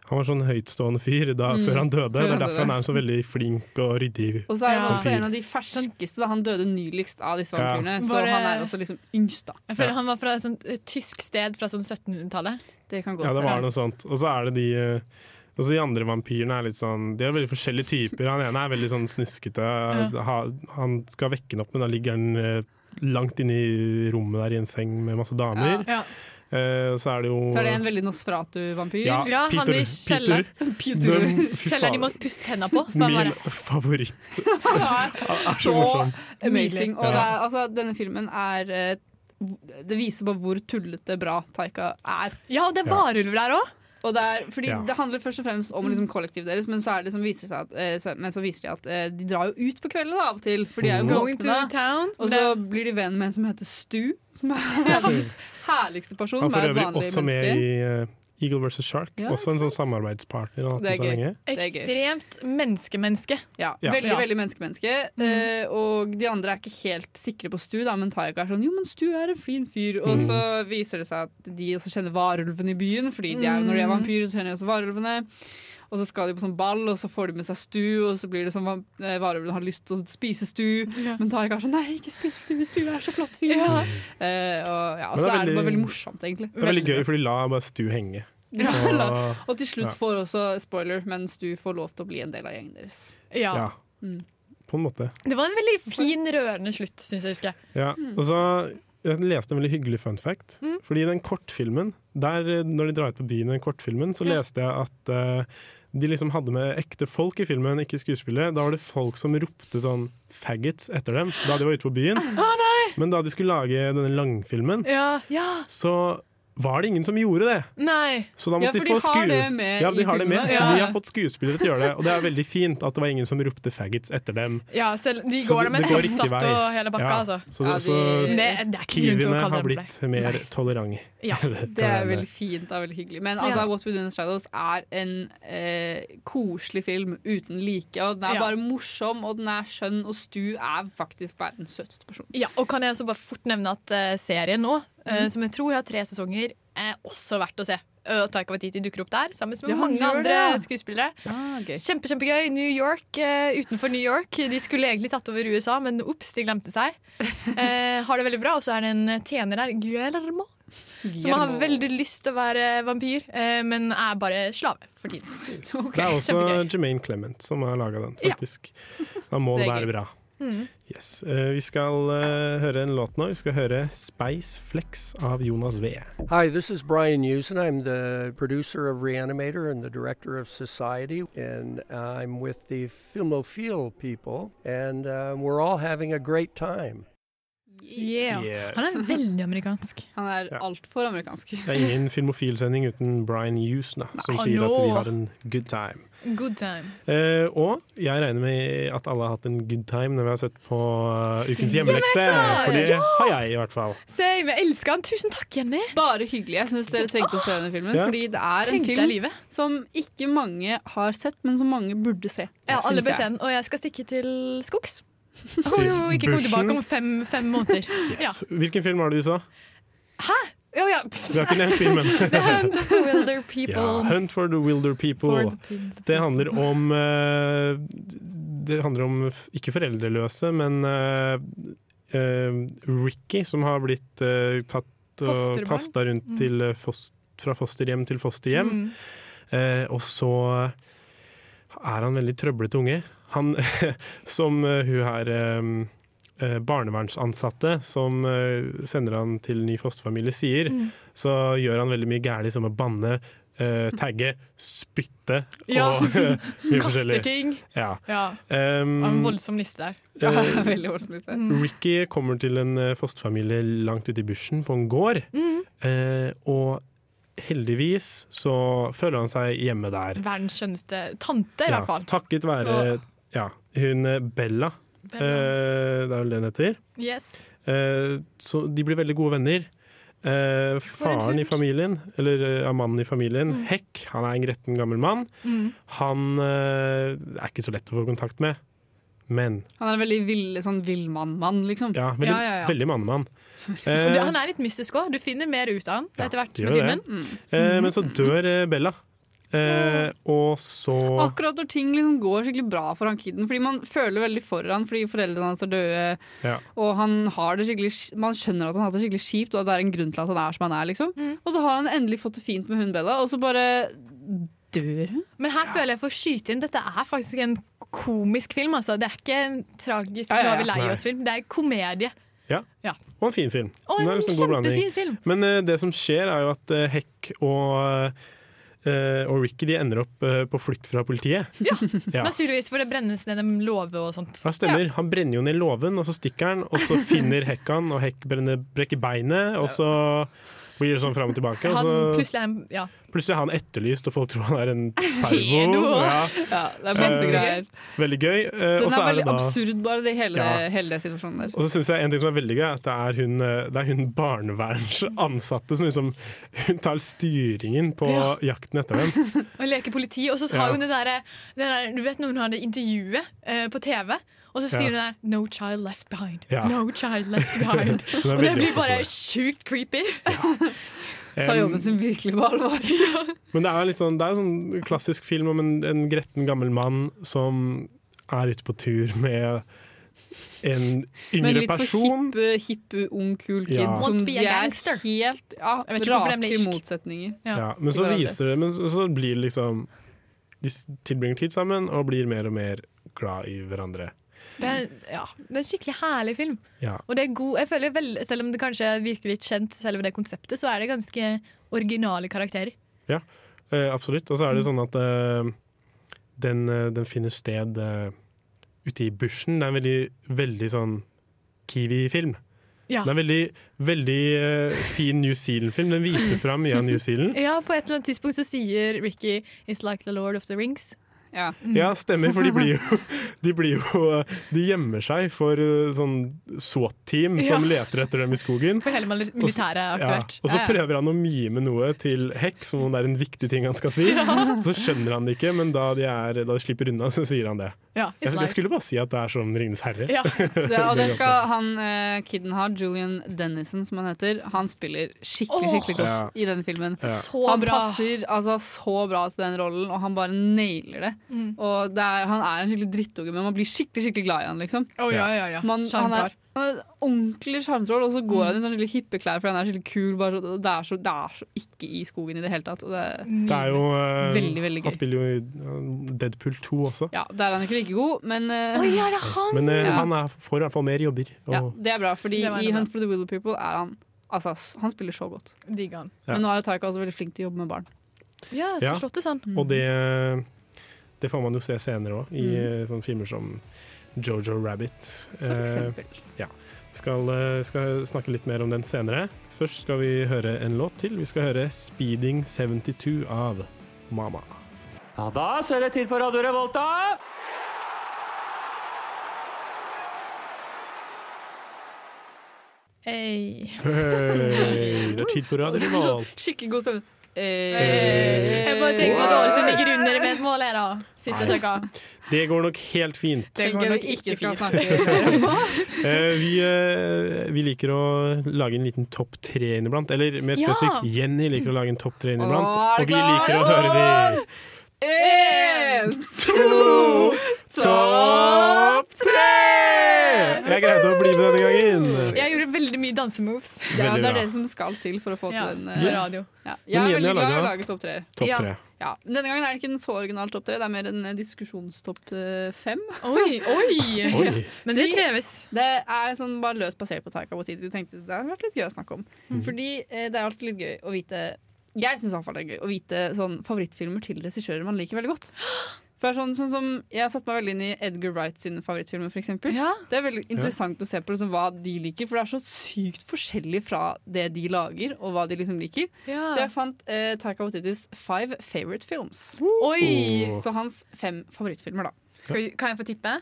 han var sånn høytstående fyr da, før han døde.
Mm. før
det
han
er derfor
døde.
han er så veldig flink og ryddig.
Og så er han
Ja.
også en av de
Sånn-
ferskeste. Da. Han døde nyligst av disse
Ja.
vampyrene. Så
Bare-
han er også liksom yngst, da.
Jeg føler han var fra et sånt eh, tysk sted fra sånn 1700-tallet.
Det kan godt
Ja, det
være.
var noe sånt. Og så er det de eh, også de andre vampyrene er litt sånn De er veldig forskjellige typer. Han ene er veldig sånn snuskete. Ha, han skal vekke den opp, men da ligger han eh, langt inne i rommet der i en seng med masse damer.
Ja.
Eh, så er det jo
Så er det en veldig Nosferatu-vampyr.
ja,
Ja, han i
Peter,
kjeller.
Peter, den- fy
Kjelleren de
faen,
måtte puste hendene på. for
Min
han bare-
(laughs) favoritt.
(laughs)
Han er så
Så
morsom.
amazing. Og
Ja.
det er, altså, denne filmen er eh, Det viser bare hvor tullete bra Taika er.
Ja, og det er varulver der òg!
Og det er, fordi
Ja.
det handler først og fremst om liksom, kollektivet deres, men så, er det liksom, viser det seg at, eh, så, men så viser de at eh, de drar jo ut på kvelden da, av og til. For de
Mm.
er jo
Going to
våkne. da.
the town.
Og
Det-
så blir de venn med en som heter Stu, som er hans herligste person.
Han er
som
for
er et
øvrig
vanlig
også
menneske.
med i eh, Eagle vs. Shark.
Ja,
også en sånn samarbeidspartner. han har hatt
Det
med
er
seg
gøy.
lenge.
Det er gøy.
Ekstremt menneske-menneske.
Ja,
Ja.
veldig
Ja. Mm.
veldig menneske-menneske. Eh, og de andre er ikke helt sikre på Stu, da, men Taiga er sånn 'jo, men Stu er en fin fyr'. Og
Mm.
så viser det seg at de også kjenner varulven i byen, fordi de er, når de er
Mm.
vampyrer, så kjenner de også varulvene. Og så skal de på sånn ball, og så får de med seg Stu, og så blir det sånn vam- eh, varulven har lyst til å spise Stu,
Ja.
men Taiga er sånn 'nei, ikke spis Stu, Stu er så flott fyr'.
Ja.
Eh, og ja,
Men
så
det er
er det bare
veldig-
veldig morsomt, egentlig.
Det er veldig gøy, for de la bare Stu
(laughs)
henge.
De bare
Og-
la- Og til slutt
Ja.
får også spoiler, men Stu får lov til å bli en del av gjengen deres.
Ja.
Ja.
Mm.
På en måte.
Det var en veldig fin, rørende slutt, syns jeg. husker jeg.
Ja.
Mm.
Og så jeg leste en veldig hyggelig fun fact. Fordi i den kortfilmen, der, eh, når de drar ut på byen i den kortfilmen, så
Ja.
leste jeg at eh, de liksom hadde med ekte folk i filmen, ikke skuespillet. Da var det folk som ropte sånn 'faggots' etter dem da de var ute på byen.
(laughs)
Men da de skulle lage denne langfilmen,
Ja, ja,
så var det ingen som gjorde det.
nei.
Så da måtte
Ja,
de
for de
få
har
skue-
det med
ja, de
i
har det med,
filmene.
Så
Ja.
de har fått skuespillere til å gjøre det, og det er veldig fint at det var ingen som ropte 'faggots' etter dem.
Ja, selv, de
Så
går
det-
med
det går riktig
ansatt
vei.
og hele bakka,
Ja.
altså.
Så,
Ja, de-
så
Det, det er ikke grunn til å
kiwiene
kalle
har
dem
blitt
for det.
mer
Nei. (laughs)
tolerante.
Ja,
Det er veldig fint og veldig hyggelig. Men altså,
Ja.
What We Do in the Shadows er en eh, koselig film uten like. Og den er
Ja.
bare morsom, og den er skjønn, og Stu er faktisk verdens søteste person.
Ja, og kan jeg også bare fort nevne at eh, serien nå,
Mhm.
eh, som jeg tror har tre sesonger, er også verdt å se. Uh, Taika Waititi dukker opp der, sammen med
Ja, han
mange
gjør
andre
det, ja.
skuespillere.
Ah, gøy.
Kjempe, kjempegøy. New York eh, utenfor New York. De skulle egentlig tatt over USA, men ops, de glemte
(laughs)
seg. Eh, har det veldig bra. Og så er det en tjener der, Guillermo, som har veldig lyst til å være vampyr, eh, men er bare slave
(laughs)
for tiden.
Det
(laughs)
er også
kjempegøy.
Jermaine Clement som har laga den,
Ja.
faktisk. Da
(laughs)
må
Det
det
er
være
gøy.
bra.
Mm.
Yes. Eh, vi skal eh, høre en låt nå. Vi skal høre 'Space Flex' av Jonas V.
Hi, this is Brian Usen. I'm the producer of Reanimator and the director of Society, and I'm with the Filmophile people, and uh, we're all having a great time.
Yeah.
Yeah.
Han er veldig amerikansk.
Han er
Ja.
altfor amerikansk. (laughs)
Det er ingen filmofilsending uten Brian Husna, som
Nei,
sier at
hallo.
vi har en good time.
Good time.
Eh, og jeg regner med at alle har hatt en good time når vi har sett på eh, Ukens hjemmelekse.
Hjemmelekse!
For det
Ja!
har jeg, i hvert fall.
Same. Jeg elsker han. Tusen takk, Jenny.
Bare hyggelig. Jeg syns dere trengte å se denne filmen.
Ja.
Fordi det er en
Trengte jeg
film
livet.
som ikke mange har sett, men som mange burde se.
Ja, alle
synes
bør
jeg.
se den. Og jeg skal stikke til skogs. Jeg kommer jo ikke komme
Bushen.
tilbake om fem, fem måneder. Ja.
Så Hvilken film var det du sa?
(laughs) Ja, ja.
Vi har ikke nevnt filmen.
The Hunt of the Wilder
Ja,
People.
Hunt for the Wilder
For
People.
the people.
Det handler om eh, Det handler om f- ikke foreldreløse, men eh, eh, Ricky som har blitt eh, tatt og
Fosterbarn.
kasta rundt
Mm.
til eh, fos- fra fosterhjem til fosterhjem.
Mm.
Eh, og så er han veldig trøblete unge. Han (laughs) som eh, hun her eh, eh, barnevernsansatte som eh, sender han til ny fosterfamilie, sier, (laughs)
Mm.
så gjør han veldig mye gærlig som å banne, eh, tagge, spytte
Ja.
og eh, (laughs) mye
(laughs) Kaster
forskjellig.
ting.
Ja.
Ja. Det var en
Um,
voldsom liste der.
eh,
(laughs)
Veldig voldsomt. hvis det er.
Ricky kommer til en eh, fosterfamilie langt ute i bushen på en gård,
Mhm.
eh, og heldigvis så føler han seg hjemme der.
Verdens skjønneste tante, i hvert fall.
Takket være ja, hun eh, Bella, eh, det er vel det hun heter.
Yes.
Eh, så de blir veldig gode venner. Eh, faren i
hund.
familien, eller eh, ja, mannen i familien,
Mm.
Hekk, han er en gretten gammel mann. Han eh, er ikke så lett å få kontakt med, men
Han er en veldig vill, sånn villmann-mann, liksom.
ja, veldig,
Ja, ja, (laughs) ja.
veldig mannemann.
Og det-
Eh,
Han er litt mystisk òg. Du finner mer ut av han
Ja,
etter hvert
gjør
med filmen. Mm. Mm-hmm.
det. eh, men så dør eh, Bella, eh, og så
Akkurat når ting liksom går skikkelig bra for han kiden. Fordi man føler veldig for han fordi foreldrene hans er døde.
ja.
Og han har det skikkelig Man skjønner at han har hatt det skikkelig kjipt, og at det er en grunn til at han er som han er. liksom
Mm.
Og så har han endelig fått det fint med hun Bella, og så bare dør hun.
Men her føler jeg for å skyte inn Dette er faktisk en komisk film. Altså. Det er ikke en tragisk
Ja, ja, ja.
nå er vi lei
Nei.
oss-film. Det er komedie.
Ja.
Ja.
Og en fin film.
Og
Den er
en
liksom god blanding.
kjempefin film.
Men eh, det som skjer er jo at eh, Heck og, eh, og Ricky de ender opp eh, på flukt fra politiet.
Ja.
Ja.
Naturligvis, for det brennes ned en låve og sånt.
Ja, stemmer. Han brenner jo ned låven, og så stikker han, og så finner Heck han, og Heck brenner, brekker beinet, og så Blir det sånn fram og tilbake. og
Han
så-
plutselig er en ja.
Plutselig er han etterlyst, og folk tror han er en pervo.
Pedo.
det er masse
Eh,
greier.
Veldig gøy. Eh, og
Den
så
er
er det
veldig
da
absurd, bare, det hele,
Ja.
hele situasjonen der.
og så synes jeg En ting som er veldig gøy, er at det er hun, eh, det er hun barnevernsansatte som liksom, hun tar styringen på
Ja.
jakten etter dem.
Og leker politi. Og så
Ja.
har hun det derre der, Du vet når hun har det intervjuet eh, på TV, og så sier hun
Ja.
der 'No child left behind'.
Ja.
No child left behind.
Hun er
og det
veldig opptatt
blir
av (laughs)
bare
det.
sjukt creepy.
Ta jobben
sin virkelig
(laughs)
på alvor.
Men det er litt sånn, det er en sånn klassisk film om en, en gretten gammel mann som er ute på tur med en sånn
Men
yngre
litt
person.
for hipp, hipp, ung, kul kid
Ja.
som
Want to be
de
a
er
gangster.
helt ja,
Jeg vet ikke hvorfor den ble
rake
irsk.
motsetninger.
(laughs) Ja. men så viser det Men så, så blir det liksom De s- tilbringer tid sammen og blir mer og mer glad i hverandre.
Det er, ja, det er en skikkelig herlig film.
Ja.
Og det er god, jeg føler vel, Selv om det kanskje virker litt kjent, selve det konseptet, så er det ganske originale karakterer.
Ja, eh, absolutt. Og så er det sånn at eh, den, eh, den finner sted eh, ute i bushen. Det er en veldig, veldig sånn Kiwi-film.
Ja.
Det er en veldig, veldig eh, fin New Zealand-film. Den (clears throat) viser fram mye av New Zealand.
Ja, På et eller annet tidspunkt så sier Ricky 'It's like the Lord of the Rings'.
Ja,
Ja, stemmer, for de blir jo De, blir jo, de gjemmer seg for eh, sånn SWAT-team som
Ja.
leter etter dem i skogen.
For hele mil- militæret er
Ja,
aktuert.
og så prøver han å mime noe til hekk, som om det er en viktig ting han skal si. Så skjønner han det ikke, men da de, er, da de slipper unna, så sier han det.
Ja, it's
Jeg,
like-
jeg skulle bare si at det er som Ringenes herre.
Ja.
Det, og det skal han eh, kiden har, Julian Dennison som han heter, han spiller skikkelig
Åh!
skikkelig godt i den filmen.
(laughs) Ja.
Så
han
bra.
passer altså, så bra til den rollen, og han bare nailer det.
Mm.
Og det er, Han er en skikkelig drittunge, men man blir skikkelig skikkelig glad i han. liksom
Å, ja, ja, ja.
Man, han,
Sjarmkar.
er, han er et ordentlig sjarmtroll, og så går
Mm.
han i sånne skikkelig hippe klær fordi han er skikkelig kul. Bare så, det, er så, det er så ikke i skogen i det hele tatt. Og det,
Mm.
Det er jo eh,
Veldig, veldig gøy.
Han spiller jo i eh, Deadpool 2 også.
ja, Der er han ikke like god, men eh,
Å ja, det er han!
Men eh,
Ja.
han er, får i hvert fall mer jobber. Og,
ja, det er bra, fordi
Det var
i
det bra.
Hunt for the Willow People er han Altså, s- han spiller så godt.
Digger han.
Ja.
Men nå er jo Taika også veldig flink til å jobbe med barn.
Ja, jeg
Ja.
har forstått det sånn.
og det,
Mm.
det får man jo se senere òg, i eh, sånne filmer som Jojo Rabbit. Eh,
For eksempel.
skal, eh, skal snakke litt mer om den senere. Først skal vi høre en låt til. Vi skal høre 'Speeding 72' av Mama.
Ja, da så er det tid for Radio Revolta!
Hey.
Hey, det er tid for Radio Revolt.
Skikkelig god stemning. Eh,
Jeg bare tenker på at Ålesund ligger under med et mål her, da. Sist jeg sjekka.
Det går nok helt fint.
Det går
tenker
nok
vi ikke
ikke
skal
fint.
snakke (laughs) mer om.
Eh, vi, eh, vi liker å lage en liten topp tre inniblant. Eller mer
Ja.
spesifikt, Jenny liker å lage en topp tre inniblant.
Å,
Og
er det
vi liker å
klart?
høre de
En, to,
topp tre! Jeg greide å bli med denne gangen.
Jeg gjorde veldig mye dansemoves.
Ja,
Veldig
det er
bra.
det som skal til for å få
Ja,
til en
på
eh,
radio.
ja. Jeg er
Men Jenny
veldig
har
glad i å
laget-
lage topp tre.
Topp
Ja.
tre.
Ja. Denne gangen er det ikke en så original topp tre, det er mer en eh, diskusjonstopp eh, fem.
Oi, oi!
Oi.
Men det treves.
Det er sånn bare løst basert på Taika Waititi. Tenkte det hadde vært litt gøy å snakke om.
Mm.
Fordi eh, det er alltid litt gøy å vite Jeg syns iallfall det er gøy å vite sånn favorittfilmer til regissører man liker veldig godt. For det er sånn, sånn som Jeg har satt meg veldig inn i Edgar Wright sine favorittfilmer, f.eks. eksempel
Ja.
Det er veldig interessant å se på liksom, hva de liker, for det er så sykt forskjellig fra det de lager, og hva de liksom liker.
ja.
Så jeg fant eh, Taika Waititis Five Favorite Films.
Oi!
Åh.
Så hans fem favorittfilmer, da.
Skal vi, kan jeg få tippe?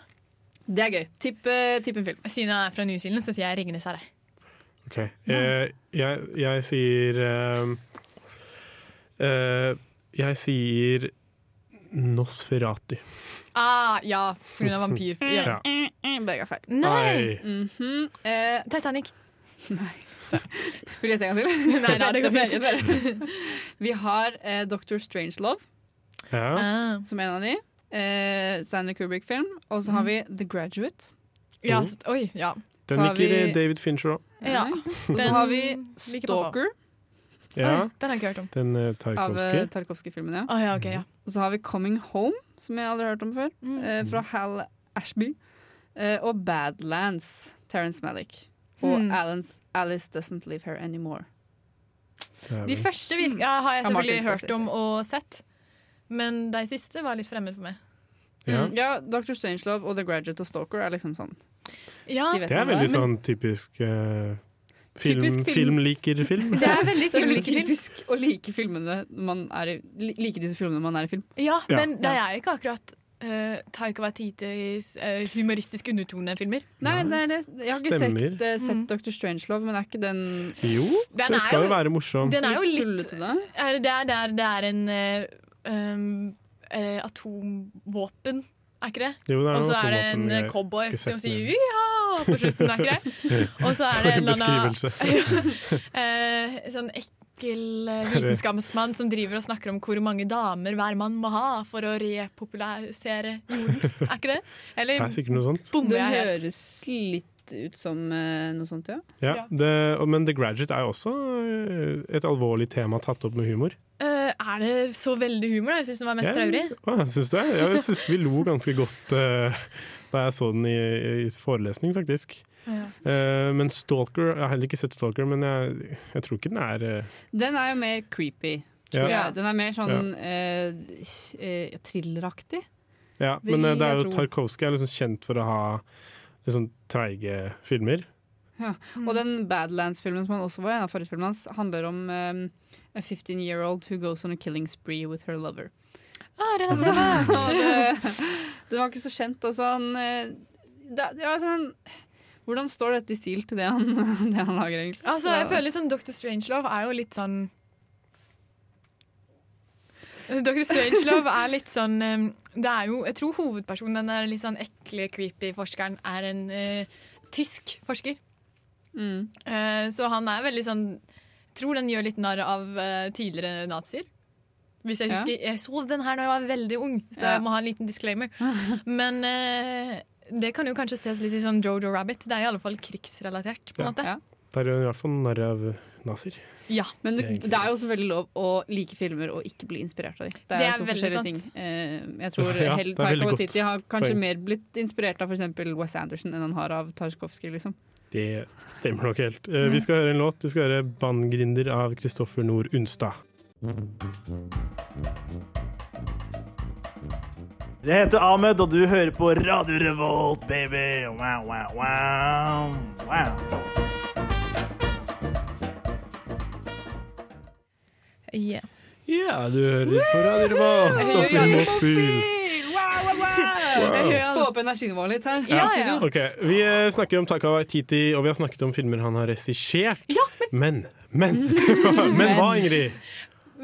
Det er gøy. Tipp, eh, tipp en film.
Siden jeg er fra New Zealand, så sier jeg 'Ringenes herre'.
Ok. Eh, jeg, jeg sier eh, eh, Jeg sier Nosferati.
Ah, ja, på grunn av vampyr. Ja.
Ja.
Mm, Begge er feil.
Nei!
Ai.
Mhm. Eh,
Titanic.
Vil du gjette en gang til?
Nei, nei, det går fint.
er bedre. Vi har eh, Dr. Strangelove
Ja.
Ah.
som en av de. Eh, Stanley Kubrick-film. Og så har vi
Mm.
The Graduate.
Ja, s- oi, ja.
Den
Så har
liker
vi-
eh, David Fincher òg.
Ja.
Og så
Den
har vi
liker pappa.
Stalker
Ja.
Oi, den har jeg ikke hørt om.
Den eh,
av
Tarkovsky.
Tarkovskij-filmen. Ja.
Å ja, ok, ja.
Og så har vi Coming Home, som jeg aldri har hørt om før.
Mm.
Eh, fra Hal Ashby. Eh, og Badlands, Terence Malick. Og
Hmm.
Alan's Alice Doesn't Live Here Anymore.
Ja,
De
vel.
første virk- ja, har jeg
Ja, Martin
selvfølgelig hørt
Scorsese.
om og sett, men de siste var litt fremmed for meg.
Ja.
Mm, ja, Dr. Strangelove og The Graduate og Stalker er liksom sånn.
Ja,
De vet
Det er
hvem det
veldig
er, men-
sånn typisk eh, Film,
Typisk film.
film liker film.
Det er veldig
Det er
film,
veldig
ikke film.
typisk å like, filmene man er i, li- like disse filmene når man er i film.
Ja,
Ja.
men det er ikke akkurat uh, Taika Waititis eh, humoristisk undertonefilmer.
Nei, det er det. Jeg har ikke
Stemmer.
sett, eh, sett
Mm.
Dr. Strangelove, men er ikke den
Jo,
Den
det
er
skal jo
jo-
være morsom.
Den er jo litt
tullete, da?
er, Eh, det, er, det, er, det er en eh, um, eh, atomvåpen, er ikke det?
Jo, det er
Og
noe
så er det en
atomvåpen, jeg-
cowboy
ikke
som
sett
sier
det.
ja på slutten, er ikke det?
(laughs)
Og så er
For
det
en
en eller annen
beskrivelse.
eh, sånn ekkel eh, vitenskapsmann som driver og snakker om hvor mange damer hver mann må ha for å repopularisere jorden, er ikke det?
Det
Eller
er sikkert noe sånt.
bommer
Det
jeg helt?
høres litt ut som eh, noe sånt, ja.
Ja, det, og- men The Graduate er jo også eh, et alvorlig tema tatt opp med humor.
Eh, er det så veldig humor, da? Jeg syns den var mest
Jeg-
traurig.
Å, jeg syns det. Ja, Jeg syns vi lo ganske godt eh, da jeg så den i, i forelesning, faktisk.
Ja.
Eh, men Stalker Jeg har heller ikke sett Stalker, men jeg, jeg tror ikke den er eh,
Den er jo mer creepy.
Ja.
Tror jeg. Den er mer sånn eh, eh, thrilleraktig.
Ja,
Vil
men eh, det er
jeg
jo
tro.
Tarkovskij er liksom kjent for å ha litt sånn treige filmer.
Ja.
Mm.
Og den Badlands-filmen som han også var i, en av forutfilmene hans, handler om um, a 15-year-old who goes on a killing spree with her lover.
Ah, det
(laughs) Altså, og
er (laughs) rart.
det, det var ikke så kjent. Altså, han, eh, det, ja, altså, han, hvordan står dette i stil til det han, (laughs) det han lager, egentlig?
Altså, jeg føler som Dr. Strangelove er jo litt sånn Dr. Strangelove er litt sånn um, Det er jo, Jeg tror hovedpersonen, den der litt sånn ekle, creepy forskeren, er en eh, tysk forsker.
Mm.
Eh, så han er veldig sånn Jeg tror den gjør litt narr av eh, tidligere nazier. Hvis jeg
Ja.
husker Jeg så den her da jeg var veldig ung, så
Ja.
jeg må ha en liten
(laughs)
disclaimer. Men eh, det kan jo kanskje ses litt i sånn Jojo Rabbit. Det er i alle fall krigsrelatert, på en
Ja.
måte.
Ja.
Der gjør hun i hvert fall narr av nazier.
Ja.
Men det,
Egentlig.
det er jo selvfølgelig lov å like filmer og ikke bli inspirert av dem. Det er,
Det er
to
veldig
forskjellige ting.
sant.
Eh, jeg
(laughs)
tror
Ja,
Hell
det er
Taika
veldig godt
Waititi har kanskje
poeng.
mer blitt inspirert av f.eks. Wes Anderson enn han har av Tarjkovskij, liksom.
Det stemmer nok helt. Eh, Vi skal høre en låt. Du skal høre 'Banngrinder' av Kristoffer Nord Unstad.
Jeg heter Ahmed, og du hører på Radio Revolt, baby! Wow, wow, wow. wow.
Yeah.
Ja, du hører på Radio Revolt og Film og Fyl.
Få opp energinivået litt her.
Ja, ja.
Ok, Vi eh, snakker om Taika Waititi, og vi har snakket om filmer han har regissert. men Men,
(laughs)
men hva, Ingrid?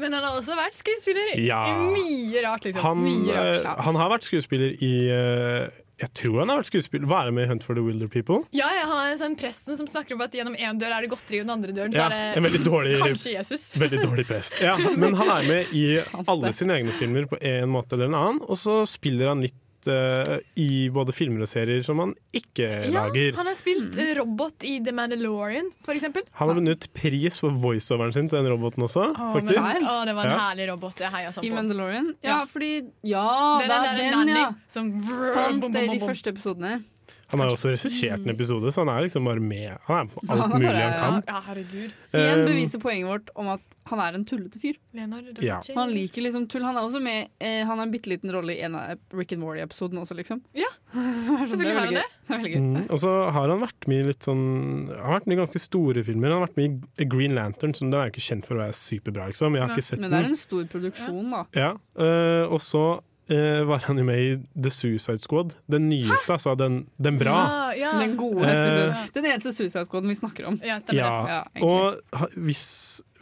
Men han har også vært skuespiller. i-
Ja.
i Mye rart, liksom.
Han,
Mye rart.
eh, han har vært skuespiller i eh, Jeg tror han har vært skuespiller Hva er det med Hunt for the Wilder People?
Ja, jeg har en sånn presten som snakker om at gjennom én dør er det godteri, og den andre døren så
Ja,
er
en
det
veldig dårlig-
kanskje Jesus.
Veldig dårlig prest. Ja, men han er med
(laughs)
i alle sine egne filmer på en måte eller en annen, og så spiller han litt eh, i både filmer og serier som han ikke
Ja,
lager.
han har spilt eh, robot i The Mandalorian, for eksempel.
Han har vunnet pris for voiceoveren sin til den roboten også,
Å, men-
faktisk.
Å, det var en
Ja.
herlig robot. Jeg heia sånn
I
på.
Mandalorian? Ja,
Ja.
fordi Ja,
Det er
det
den
er
der
den, ja.
nanny som
Sant,
bom,
det er
bom,
de
bom.
første episodene.
Han har jo også regissert en episode, så han er liksom bare med. Han
(laughs)
er på
Han
alt
er
mulig
bare-
han kan.
Ja, herregud.
Igjen
Um,
beviser poenget vårt om at han er en tullete fyr.
Leonardo da
Ja.
Vinci.
Han liker liksom tull. Han er også med eh, Han har en bitte liten rolle i en av Rick and Morty-episoden også, liksom.
Ja,
Det
(laughs) selvfølgelig
er
har han
veldig gøy.
det.
Det er veldig gøy.
Mm, og så har han vært med i litt sånn Han har vært med i ganske store filmer. Han har vært med i Green Lantern, som den er jo ikke kjent for å være superbra, liksom. Jeg har ikke sett
Men det er
den.
en stor produksjon, da.
Ja, øh, og så øh, var han jo med i The Suicide Squad. Den nyeste, altså. Den, den bra.
Ah, ja.
Den gode
Eh.
Suicide- Den eneste Suicide Squaden vi snakker om.
Ja, stemmer det.
Ja,
Ja, egentlig.
og ha- hvis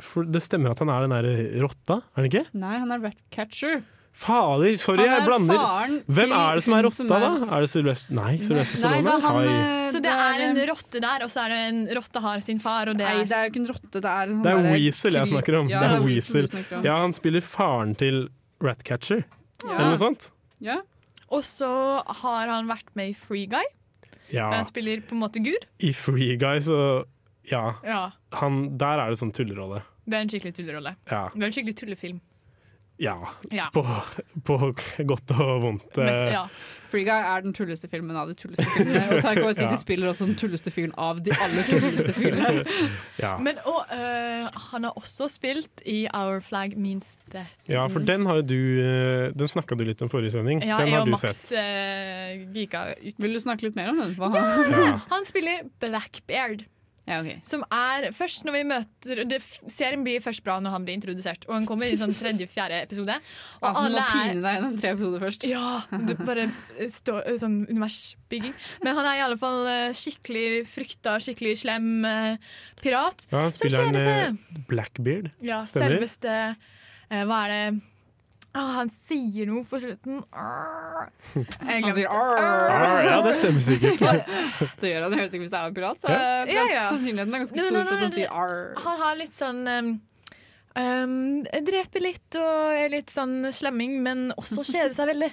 For det stemmer at han er den derre rotta, er han ikke?
Nei, han er Ratcatcher.
Fader, sorry,
Han er
jeg blander.
faren
Hvem
til
er det som er
hun
rotta,
som
da?
er-
Er det Sylvester Nei, Sylvester
Nei,
Stallone?
da, han,
Hei.
eh,
Så det er en rotte der, og så er det en rotte har sin far, og det
Nei,
er
det er jo ikke en rotte, det er en sånn
Det er
derre
Weasel jeg
kryp-
snakker om.
Ja,
det er
Weasel
Weasel.
du snakker om.
Ja, han spiller faren til Ratcatcher, eller noe sånt.
Ja.
Og så har han vært med i Free Guy,
Ja,
der han spiller på en måte Gur.
i Free Guy, så Ja.
Ja,
Han, der er det sånn tullerolle.
Det er en skikkelig tullerolle.
Ja.
Det er en skikkelig tullefilm.
ja.
Ja.
På, på godt og vondt.
Mest,
eh,
ja.
Free Guy er den tulleste filmen av de tulleste filmene. Og Taika Waititi
(laughs) Ja.
spiller også den tulleste fyren av de aller tulleste
(laughs)
fyrene.
ja.
Men og, øh, han har også spilt i Our Flag Means Death.
ja, for den har jo du eh, Den snakka du litt om forrige sending.
Ja,
den
jeg
har
og
du
Max
sett.
øh, gika ut.
Vil du snakke litt mer om den? Hva?
Ja.
Han spiller Blackbeard.
Ja, ok.
Som er først når vi møter det, Serien blir først bra når han blir introdusert. Og han kommer i sånn tredje-fjerde episode. Og
Altså, du må pine deg gjennom tre episoder først.
Ja, du bare stå, sånn universbygging. Men han er i alle fall eh, skikkelig frykta, skikkelig slem eh, pirat.
Ja,
som
spiller han
kjeder seg.
eh, Blackbeard?
Ja,
Stemmer.
selveste eh, Hva er det Å, Han sier noe på
(laughs)
slutten. Arr. Jeg
Han sier
glemte.
arr.
Arr, ja, det stemmer sikkert.
Det gjør han helt sikkert hvis det er en pirat. Så
Ja.
er
Ja, ja.
sannsynligheten er ganske
Nei,
stor
nei,
for at
nei,
han sier arr.
Han har litt sånn um, um, Dreper litt og er litt sånn slemming, men også kjeder seg veldig.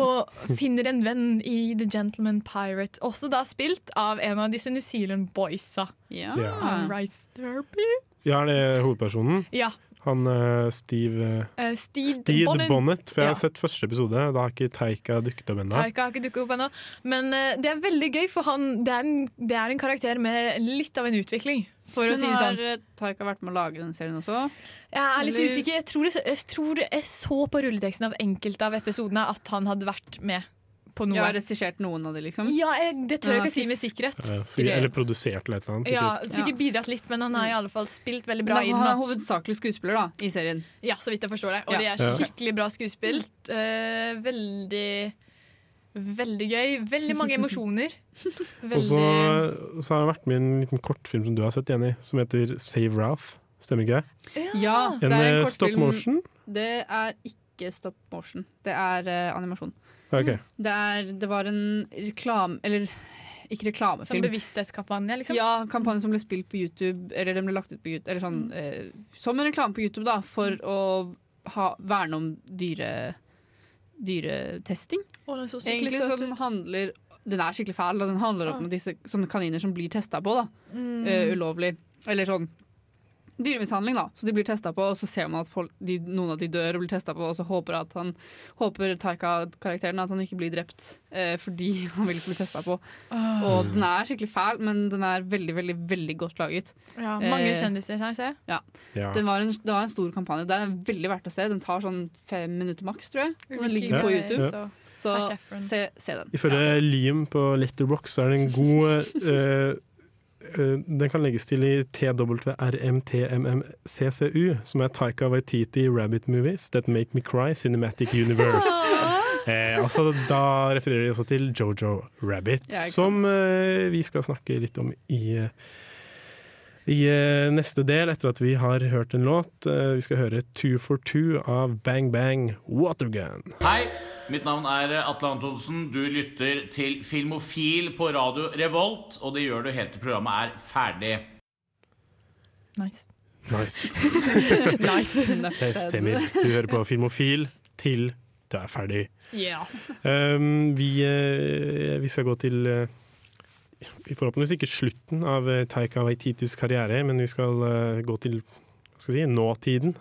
Og finner en venn i The Gentleman Pirate, også da spilt av en av disse New Zealand boysa.
Ja.
Ja.
Rice Therapy.
Ja, er det hovedpersonen?
Ah. Ja.
Han eh, Steve eh,
eh, Steed,
Steed Bonnet.
Bonnet.
for jeg har
Ja.
sett første episode. Da har ikke Taika dukket opp ennå.
Taika har ikke dukket opp ennå. Men eh, det er veldig gøy, for han, det, er en, det er en karakter med litt av en utvikling. For å
Men
si det
har
sånn.
eh, Taika vært med å lage den serien også?
Jeg er litt
eller-
usikker. Jeg tror, det- jeg tror jeg så på rulleteksten av enkelte av episodene at han hadde vært med på noe.
Jeg har regissert noen av de, liksom.
Ja, jeg, det tør jeg
Han
ikke si
har
med
ikke
sikkerhet.
Eh, sikkert- Eller produsert eller et eller annet.
Ja,
sikkert.
sikkert bidratt litt, men han har i alle fall spilt veldig bra
Men
inn.
han er
da.
hovedsakelig skuespiller da, i serien.
Ja, så vidt jeg forstår det. Og
Ja.
de
Ja.
er skikkelig bra skuespilt. Eh, veldig Veldig gøy. Veldig mange
(laughs)
emosjoner.
Og så så har jeg vært med i en liten kortfilm som du har sett, Jenny, som heter Save Ralph. Stemmer ikke det?
Ja,
En,
det er en
eh,
kortfilm.
stop motion?
Det er ikke stop motion. Det er eh, animasjon.
Ja, ok.
Det, er, det var en reklame... Eller ikke
Som
reklamefilm.
bevissthetskampanje, sånn liksom.
Ja, kampanjen som ble spilt på YouTube, eller den ble lagt ut på YouTube, eller
Mm.
sånn, eh, som en reklame på YouTube, da, for å ha, verne om dyre, dyretesting.
Å, den så skikkelig
Egentlig
søt
sånn
ut. Ah.
handler Den er skikkelig fæl, og den handler om disse sånne kaniner som blir testa på, da.
Mm.
Eh, ulovlig. Eller sånn dyremishandling, da. Så de blir testa på, og så ser man at folk, de, noen av de dør og blir testa på, og så håper, at han, håper Taika-karakteren at han ikke blir drept eh, fordi (laughs) han vil bli testa på.
Ah.
Og den er skikkelig fæl, men den er veldig, veldig veldig godt laget.
Ja, mange
Eh,
kjendiser her, ser jeg.
Ja.
Ja.
Den var en, det var en stor kampanje. Det er veldig verdt å se. Den tar sånn fem minutter maks, tror jeg. Og den
Ricky
ligger på
Gervais
YouTube.
og
Så
Zac Efron.
se, se den.
Ifølge Liam på Letterbox så er det en god eh, eh, Den kan legges til i TWRMTMMCCU, som er Taika Waititi Rabbit Movies That Make Me Cry
(laughs)
Cinematic Universe. Eh, altså, da refererer de også til Jojo Rabbit,
Ja, ikke
som eh, vi skal snakke litt om i eh, i eh, neste del, etter at vi har hørt en låt, eh, vi skal høre Two for Two av Bang Bang Watergun.
Hei, mitt navn er eh, Atle Antonsen. Du lytter til Filmofil på Radio Revolt, og det gjør du helt til programmet er ferdig.
Nice.
Nice.
(laughs) Nice.
Det stemmer. Du hører på Filmofil til det er ferdig.
Ja.
Um, vi, eh, vi skal gå til eh, forhåpentligvis ikke slutten av eh, Taika Waititis karriere, men vi skal eh, gå til hva skal jeg si, nåtiden.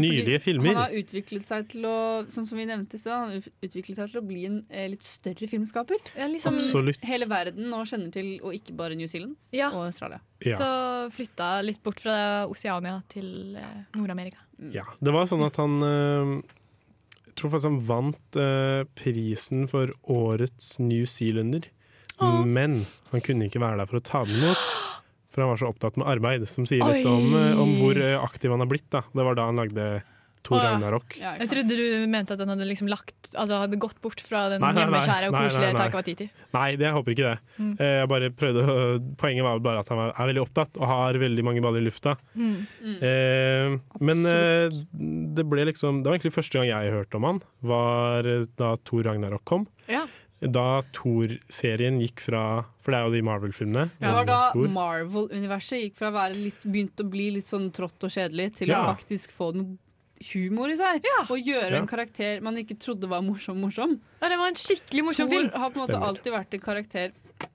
Nylige
fordi
filmer.
Han har utviklet seg til å Sånn som vi nevnte i sted, han har ut- utviklet seg til å bli en eh, litt større filmskaper.
liksom-
Absolutt.
Hele verden nå kjenner til, og ikke bare New Zealand og Australia.
Ja.
Så flytta litt bort fra Oseania til eh, Nord-Amerika.
Ja, det var sånn at han eh, Jeg tror faktisk han vant eh, prisen for årets New Zealander. Men han kunne ikke være der for å ta den imot, for han var så opptatt med arbeid. Som sier litt
Oi.
om, eh, om hvor eh, aktiv han har blitt. Da. Det var da han lagde Thor
Å, ja.
Ragnarok.
jeg trodde du mente at han hadde, liksom lagt, altså, hadde gått bort fra den
Nei, nei, nei.
hjemmeskjære og
Nei, nei,
koselige
nei.
Taika Waititi.
Nei, det jeg håper ikke det.
Mm.
Eh, Jeg bare prøvde å, Poenget var bare at han var- er veldig opptatt og har veldig mange baller i lufta.
Mm.
Eh, men eh, det ble liksom Det var egentlig første gang jeg hørte om han, var eh, da Thor Ragnarok kom.
Ja.
Da Thor-serien gikk fra For det er jo de Marvel-filmene.
Det var da
Thor.
Marvel-universet gikk fra å være litt, begynte å bli litt sånn trått og kjedelig, til å
Ja.
faktisk få noe humor i seg. Og gjøre
Ja.
en karakter man ikke trodde var morsom, morsom.
Ja, det var en skikkelig morsom
Thor
film.
har på en måte
Stemmer.
alltid vært en karakter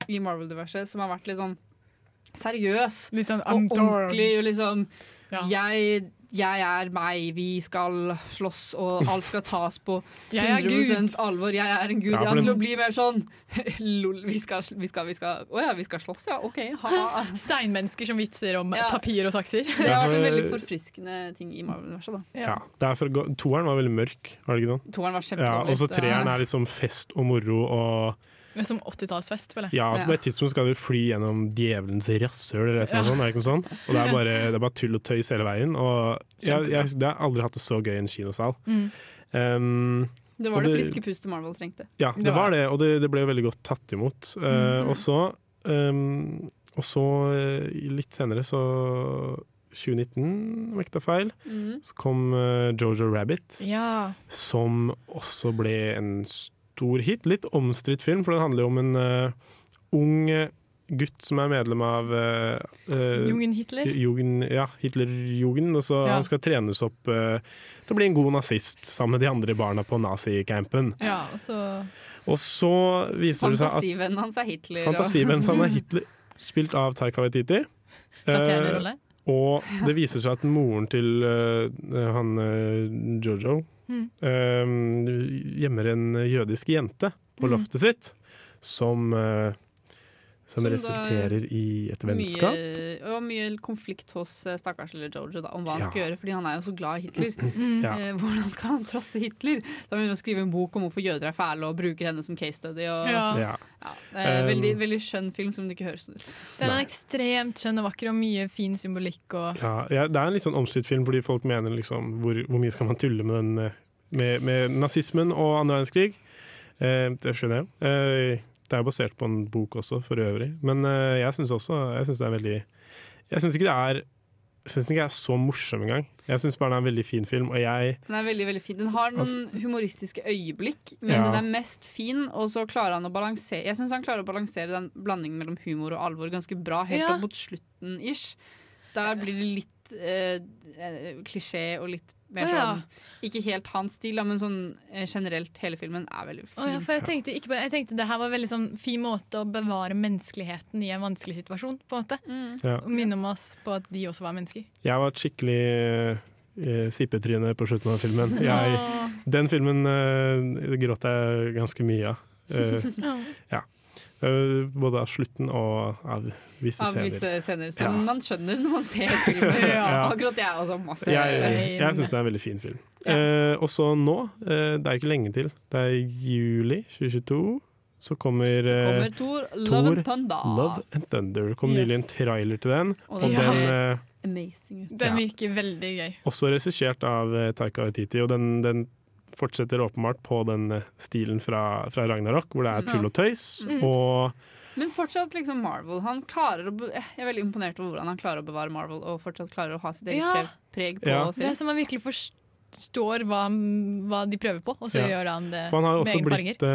i Marvel-universet som har vært litt sånn seriøs
I'm
og
Thor.
ordentlig. Og liksom, jeg, jeg er meg, vi skal slåss, og alt skal tas (laughs) på
Jeg er
100 alvor. Jeg er en gud.
Ja,
Ja,
for
til
den-
å bli mer sånn (laughs) lol, vi skal, vi skal, vi skal Å ja, vi skal slåss, (laughs) ja. OK, ha-ha.
Steinmennesker som vitser om
Ja.
papir og
(laughs)
sakser.
Det har vært en
for-
veldig forfriskende ting i Marvel-universet. da
Ja. det er for, go- toeren var veldig mørk, var det ikke sånn?
Toeren var
Ja,
kjempedårlig.
og så
Det er-
treeren er liksom fest og moro og
Som 80-tallsfest, føler jeg.
Ja, altså På et tidspunkt skal du fly gjennom djevelens rasshøl eller et eller annet sånt.
Ja.
Er det ikke noe sånt? Og det er, bare, det er bare tull og tøys hele veien. Og jeg, jeg, jeg har aldri hatt det så gøy i en kinosal.
Mm.
Um,
Det
og
var det friske pustet Marvel trengte.
Ja, det var det, og det, det ble jo veldig godt tatt imot. Eh,
Mhm.
Og så ehm, Og så eh, litt senere, så 2019, om jeg ikke tar feil,
Mm.
Mhm.
så kom eh, Jojo Rabbit.
Ja.
Som også ble en stor hit. Litt omstridt film, for den handler jo om en eh, ung eh, gutt som er medlem av uh,
Jugendhitler?
Jugend, ja, Hitlerjugend. Og så
Ja.
han skal trenes opp eh, til å bli en god nazist sammen med de andre barna på nazicampen.
Ja, og så
Og så viser det seg at
Fantasivennen hans er Hitler. og-
Fantasivennen han er Hitler, spilt av Taika Waititi.
Flatterende
Eh,
rolle.
og det viser seg at moren til eh, han eh, Jojo
Mm.
eh, gjemmer en jødisk jente på
Mm.
loftet sitt, som eh, som,
Som da-
resulterer i et vennskap.
Mye, og mye konflikt hos eh, stakkars lille Jojo da, om hva han
Ja.
skal gjøre, fordi han er jo så glad i Hitler.
Mm. Ja.
Eh, hvordan skal han trosse Hitler? Da begynner han å skrive en bok om hvorfor jøder er fæle, og bruker henne som case study. Og,
Ja.
Ja.
eh,
Um,
veldig, veldig skjønn film som det ikke høres ut.
Den er ekstremt skjønn og vakker og mye fin symbolikk og
Ja, ja, det er en litt sånn omstridt film, fordi folk mener liksom hvor, hvor mye skal man tulle med, den, eh, med, med nazismen og andre verdenskrig? Eh, det skjønner jeg. Eh, det er jo basert på en bok også, for øvrig. Men eh, jeg syns også jeg synes det er veldig Jeg syns ikke det er jeg synes den ikke er så morsom engang. Jeg syns bare det er en veldig fin film, og jeg
Den er veldig, veldig fin. Den har noen
Altså-
humoristiske øyeblikk, men
Ja.
den er mest fin, og så klarer han å balansere Jeg syns han klarer å balansere den blandingen mellom humor og alvor ganske bra, helt
Ja.
opp mot slutten ish. Der blir det litt eh, eh, klisjé og litt mer
Å, ja.
sånn Ikke helt hans stil, da, men sånn eh, generelt hele filmen er veldig fin.
Å ja, for jeg tenkte, ikke på, jeg tenkte det her var veldig sånn fin måte å bevare menneskeligheten i en vanskelig situasjon. på en måte.
Mm.
Ja.
Og minne om oss på at de også var mennesker.
Jeg var et skikkelig eh, sippetryne på slutten av filmen. Jeg, den filmen eh, gråt jeg ganske mye av. Eh, ja. Eh, både av slutten og av visse
Av
scener.
visse scener som
Ja.
man skjønner når man
(laughs)
ser filmen.
Ja.
(laughs) Akkurat jeg også masse.
Jeg, jeg syns det er en veldig fin film. Eh, og så nå, eh, det er ikke lenge til, det er juli 2022, så kommer, eh,
Kommer Thor, Love and Thunder.
Love and Thunder. Det kom
Yes.
nylig en trailer til den,
Og
og
den
den,
ser-
eh,
Amazing ut.
Den virker veldig gøy.
også regissert av eh, Taika Waititi, og den, den fortsetter åpenbart på den eh, stilen fra, fra Ragnarok, hvor det er tull og tøys,
Mhm.
Mm.
og
Men fortsatt liksom Marvel. Han klarer å be jeg er veldig imponert over hvordan han klarer å bevare Marvel og fortsatt klarer å ha sitt eget
Ja.
pre- preg på
Ja.
ja.
Det er som man virkelig forstår hva, hva de prøver på, og så
Ja.
gjør han det
For han har jo
med
også
egne farger.
blitt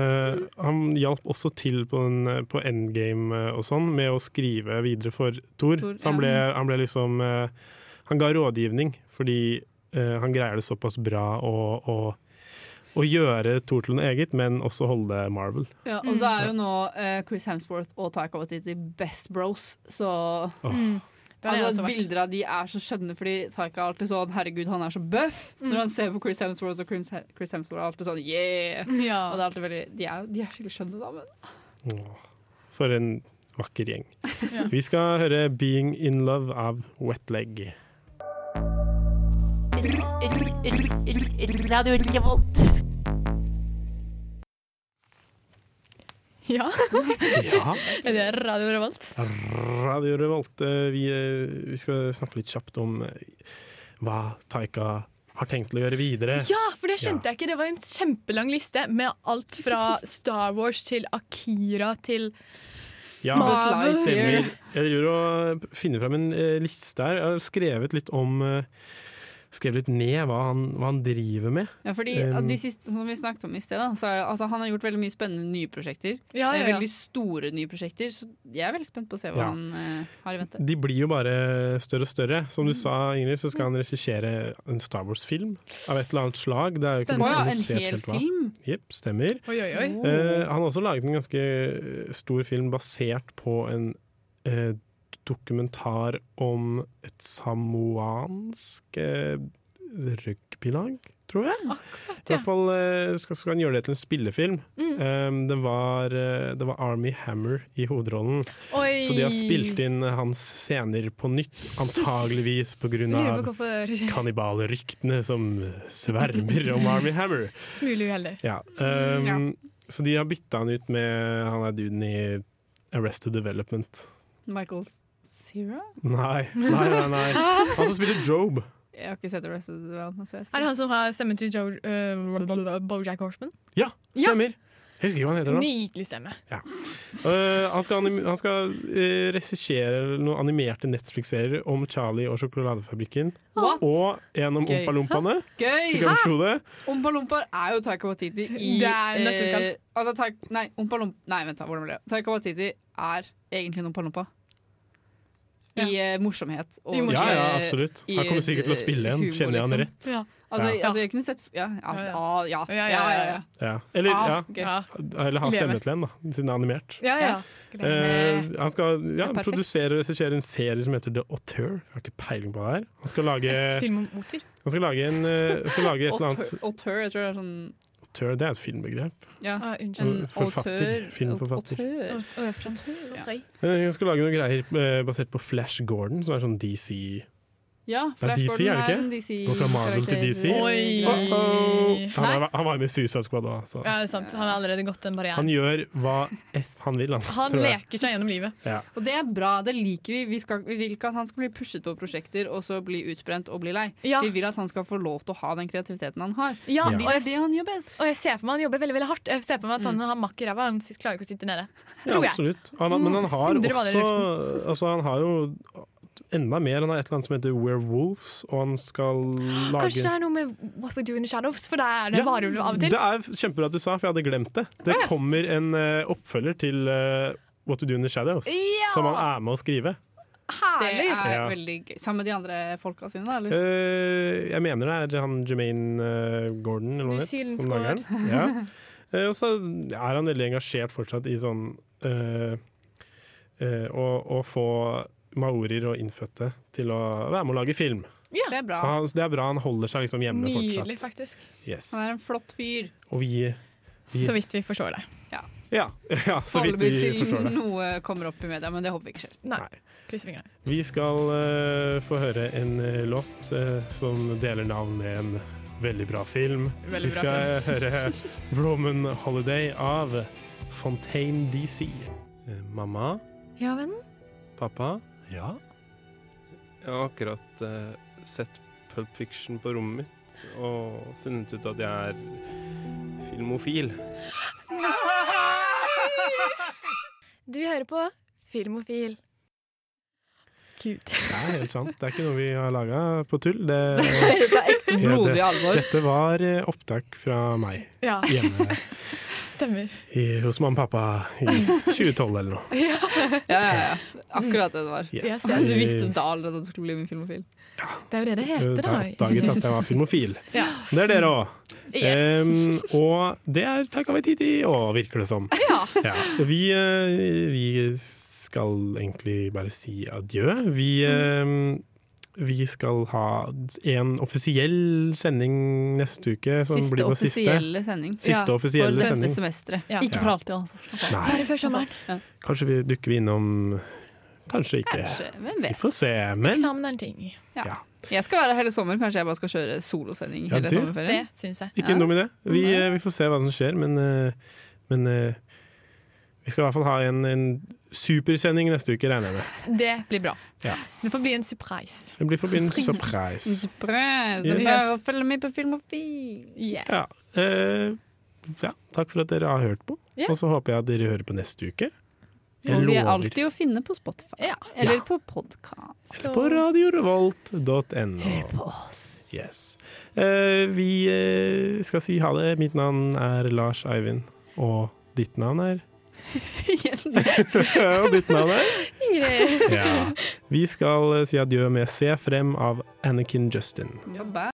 eh, Han hjalp også til på, den, på Endgame eh, og sånn med å skrive videre for Thor.
Thor,
Så han
ja.
ble, han ble liksom eh, Han ga rådgivning fordi eh, han greier det såpass bra å, å, å gjøre Thor til noe eget, men også holde Marvel.
Ja, og så er jo nå eh, Chris Hemsworth og Taika Waititi best bros, så
Mm.
Det har jeg
altså,
også vært.
Bilder av de er så skjønne, fordi Taika er alltid sånn 'herregud, han er så bøff'.
Mm.
Når han ser på Chris Hemsworth, og Chris Chris Hemsworth er alltid sånn 'yeah'.
(laughs) Ja.
Og det er alltid veldig, de, er, de er skikkelig skjønne sammen.
Åh, For en vakker gjeng.
Ja.
Vi skal høre 'Being In Love' av Wetleg.
Radio Revolt.
Ja.
Ja.
Er det Radio Revolt?
Radio Revolt. Eh, Vi, eh, vi skal snakke litt kjapt om eh, hva Taika har tenkt til å gjøre videre.
Ja, for det skjønte jeg ikke. Det var en kjempelang liste med alt fra Star Wars til Akira til
Ja,
Marvel.
stemmer. Jeg driver og finner fram en eh, liste her. Jeg har skrevet litt om eh, Skrevet litt ned hva han, hva han driver med.
Ja, fordi
Um,
av de siste som vi snakket om i sted, da, så er, altså, han har gjort veldig mye spennende nye prosjekter.
Ja,
Eh,
ja, ja.
Veldig store nye prosjekter, så jeg er veldig spent på å se hva
Ja.
han eh, har i vente.
De blir jo bare større og større. Som du sa, Ingrid, så skal han regissere en Star Wars-film av et eller annet slag. Det er jo ikke
Spennende. Å ja, en
kommunisert
hel
helt hva.
film? Oh.
Jepp, stemmer.
Oi, oi, oi.
Eh, han har også laget en ganske eh, stor film basert på en eh, dokumentar om et samoansk eh, rugbylag, tror jeg. I hvert fall eh, skal, skal han gjøre det til en spillefilm.
Mm.
Eh, det, var, eh, det var Army Hammer i hovedrollen.
Oi.
Så de har spilt inn eh, hans scener på nytt, antageligvis
Lurer
pga.
på hvorfor (laughs)
kannibalryktene som svermer om eh, Army Hammer.
Smule uheldig.
Ja. Um, Så de har bytta han ut med han er duden i Arrested Development.
Michael Cera?
Nei, nei, nei. nei. Han som spiller Job.
Jeg har ikke sett Arrested Development. så jeg vet
Er det han som har stemmen til jo, øh, Bojack Horseman?
Ja, stemmer! Jeg husker ikke hva han heter. da
Nydelig stemme.
Ja. Øh, han skal, anim han skal eh, regissere noen animerte Netflix-serier om Charlie og sjokoladefabrikken.
What?
Og en om
Gøy.
Ompalompaene.
Gøy!
Ikke jeg forsto det.
Ompa Lompa er jo Taika Waititi i
Det er jo nøtteskall.
eh, altså, Taik- Nei, Ompa Lompa Nei, vent, da. Hvordan ble det? Taika Waititi er egentlig en Ompa Lompa. I eh, morsomhet. og- eh,
Ja, ja, absolutt.
i,
Han kommer sikkert til å spille en,
humor,
kjenner jeg han
liksom.
rett.
Ja.
Altså,
Ja.
altså, jeg kunne sett Ja, ja, ja. ja, ja, ja.
Ja. Eller,
Ah,
ja.
gøy. Ja.
Eller ha
Gleder
stemme
meg.
til en, da, siden det er animert.
Ja, ja.
Eh, han skal ja,
Det er perfekt.
produsere og regissere en serie som heter The Auteur. Jeg har ikke peiling på det her. Han skal lage,
Film om oter.
han skal lage, en, eh, skal lage et eller annet
Auteur- Auteur, jeg tror det er sånn
Auteur, det er et filmbegrep.
Ja,
Ah, unnskyld.
en
Sånn Forfatter,
auteur-
filmforfatter.
auteur.
Å, jeg er fransk.
Ja.
Sorry.
Eh, Han skal lage noen greier eh, basert på Flash Gordon, som er sånn DC
Ja,
Det er
Flash
DC,
Gordon
er det ikke?
en DC
Går fra Marvel til DC.
Oi.
Oh-oh! Oh, Han,
Nei.
er- han var jo med i Suicide Squad òg, så
Ja, det er sant. Han har allerede gått den barrieren.
han gjør hva F han vil, han.
Han
tror jeg.
leker seg gjennom livet.
Ja.
Og det er bra, det liker vi. Vi, skal, vi vil ikke at han skal bli pushet på prosjekter og så bli utbrent og bli lei.
Ja.
Vi vil at han skal få lov til å ha den kreativiteten han har.
Ja,
Fordi
og
det
jeg-
er det han gjør best.
Og jeg ser for meg han jobber veldig veldig hardt. Jeg ser for meg at han har makk i ræva. Han sist klarer ikke å sitte nede.
Ja,
Tror jeg. Mm,
absolutt. Han, har- men han har
Hundre baller i
også altså, Han har jo enda mer. Han har et eller annet som heter Werewolves, og han skal lage
Kanskje det er noe med What We Do In The Shadows, for da er det
Ja,
varulv av og til.
Det er kjempebra at du sa, for jeg hadde glemt det. Det
Å, ja.
kommer en eh, oppfølger til eh, What to do in the shadows,
Ja!
som han er med å skrive.
Det
Herlig!
er
Ja.
veldig gøy. Sammen med de andre folka sine, da? Eller?
Eh, jeg mener det er han Jermaine eh, Gordon eller noe
New
sånt
Zealand
som lager den.
(laughs)
Ja. Eh, og så er han veldig engasjert fortsatt i sånn eh, eh, å, å få maorier og innfødte til å være med å lage film.
Ja.
Det er bra.
Så, han, så det er bra han holder seg liksom hjemme fortsatt.
Nydelig, faktisk.
Yes.
Han er en flott fyr.
Og vi, vi
Så vidt vi forstår det.
ja, (laughs) ja, så vidt
Foreløpig
vi forstår
til (laughs)
det.
noe kommer opp i media, men det håper vi ikke skjer.
Nei. Krysser fingrene.
Vi skal eh, få høre en eh, låt eh, som deler navn med en veldig bra film.
Veldig
Vi
bra
skal
(laughs)
høre Roman Holiday av Fontaine DC. Eh, Mamma,
Ja, vennen.
pappa,
Ja.
Jeg har akkurat eh, sett Pulp Fiction på rommet mitt og funnet ut at jeg er filmofil.
Du hører på Filmofil. Cute.
det er helt sant. Det er ikke noe vi har laga på tull. Det,
Det er ekte blodig
(laughs)
alvor.
Dette var eh, opptak fra meg
(laughs) Ja.
hjemme
Stemmer.
i, hos mamma og pappa
(laughs)
i 2012 eller noe.
Ja.
Ja, ja, ja. Akkurat det det var.
Yes.
Ja, Du visste da allerede at du skulle bli med i Filmofil.
Det er jo det det heter,
Eh, Da
da.
jeg oppdaget at jeg var filmofil.
Ja.
Det er dere òg.
(laughs) Yes.
og det er Taika Waititi òg, virker det som. Ja. Vi, eh, vi skal egentlig bare si adjø. Vi, eh, vi skal ha en offisiell sending neste uke, som
Siste
blir vår siste.
offisielle sending.
Siste offisielle
For
sending.
dette semesteret.
Ja.
Ikke for alltid, altså.
Nei.
Bare før sommeren.
Kanskje vi dukker vi innom Kanskje ikke.
Kanskje. Hvem
Vi
vet.
får se. Men
Eksamen er en ting.
ja.
Jeg skal være her hele sommer, kanskje jeg bare skal kjøre solosending
Ja,
hele
du.
Det
sommerferien.
syns jeg.
Ikke
Ja.
noe med det. Vi, eh, vi får se hva som skjer, men, eh, men eh, vi skal i hvert fall ha en, en supersending neste uke, regner jeg med.
Det blir bra.
Ja.
Det får bli en surprise.
Det blir forbundet surprise.
Surprise! Det er
Yes.
bare å følge med på Filmofil!
Yeah.
Ja. eh, ja, takk for at dere har hørt på,
Ja.
og så håper jeg at dere hører på neste uke. Jeg
Og vi er
lover.
alltid å finne på Spotify.
Ja.
Eller på podkast.
På
(laughs)
radiorevolt.no. Yes. Eh, vi eh, skal si ha det. Mitt navn er Lars Eivind, og ditt navn er (laughs) Og ditt navn er
Ingrid.
Ja. Vi skal eh, si adjø med Se frem av Anakin Justin.
Jobba.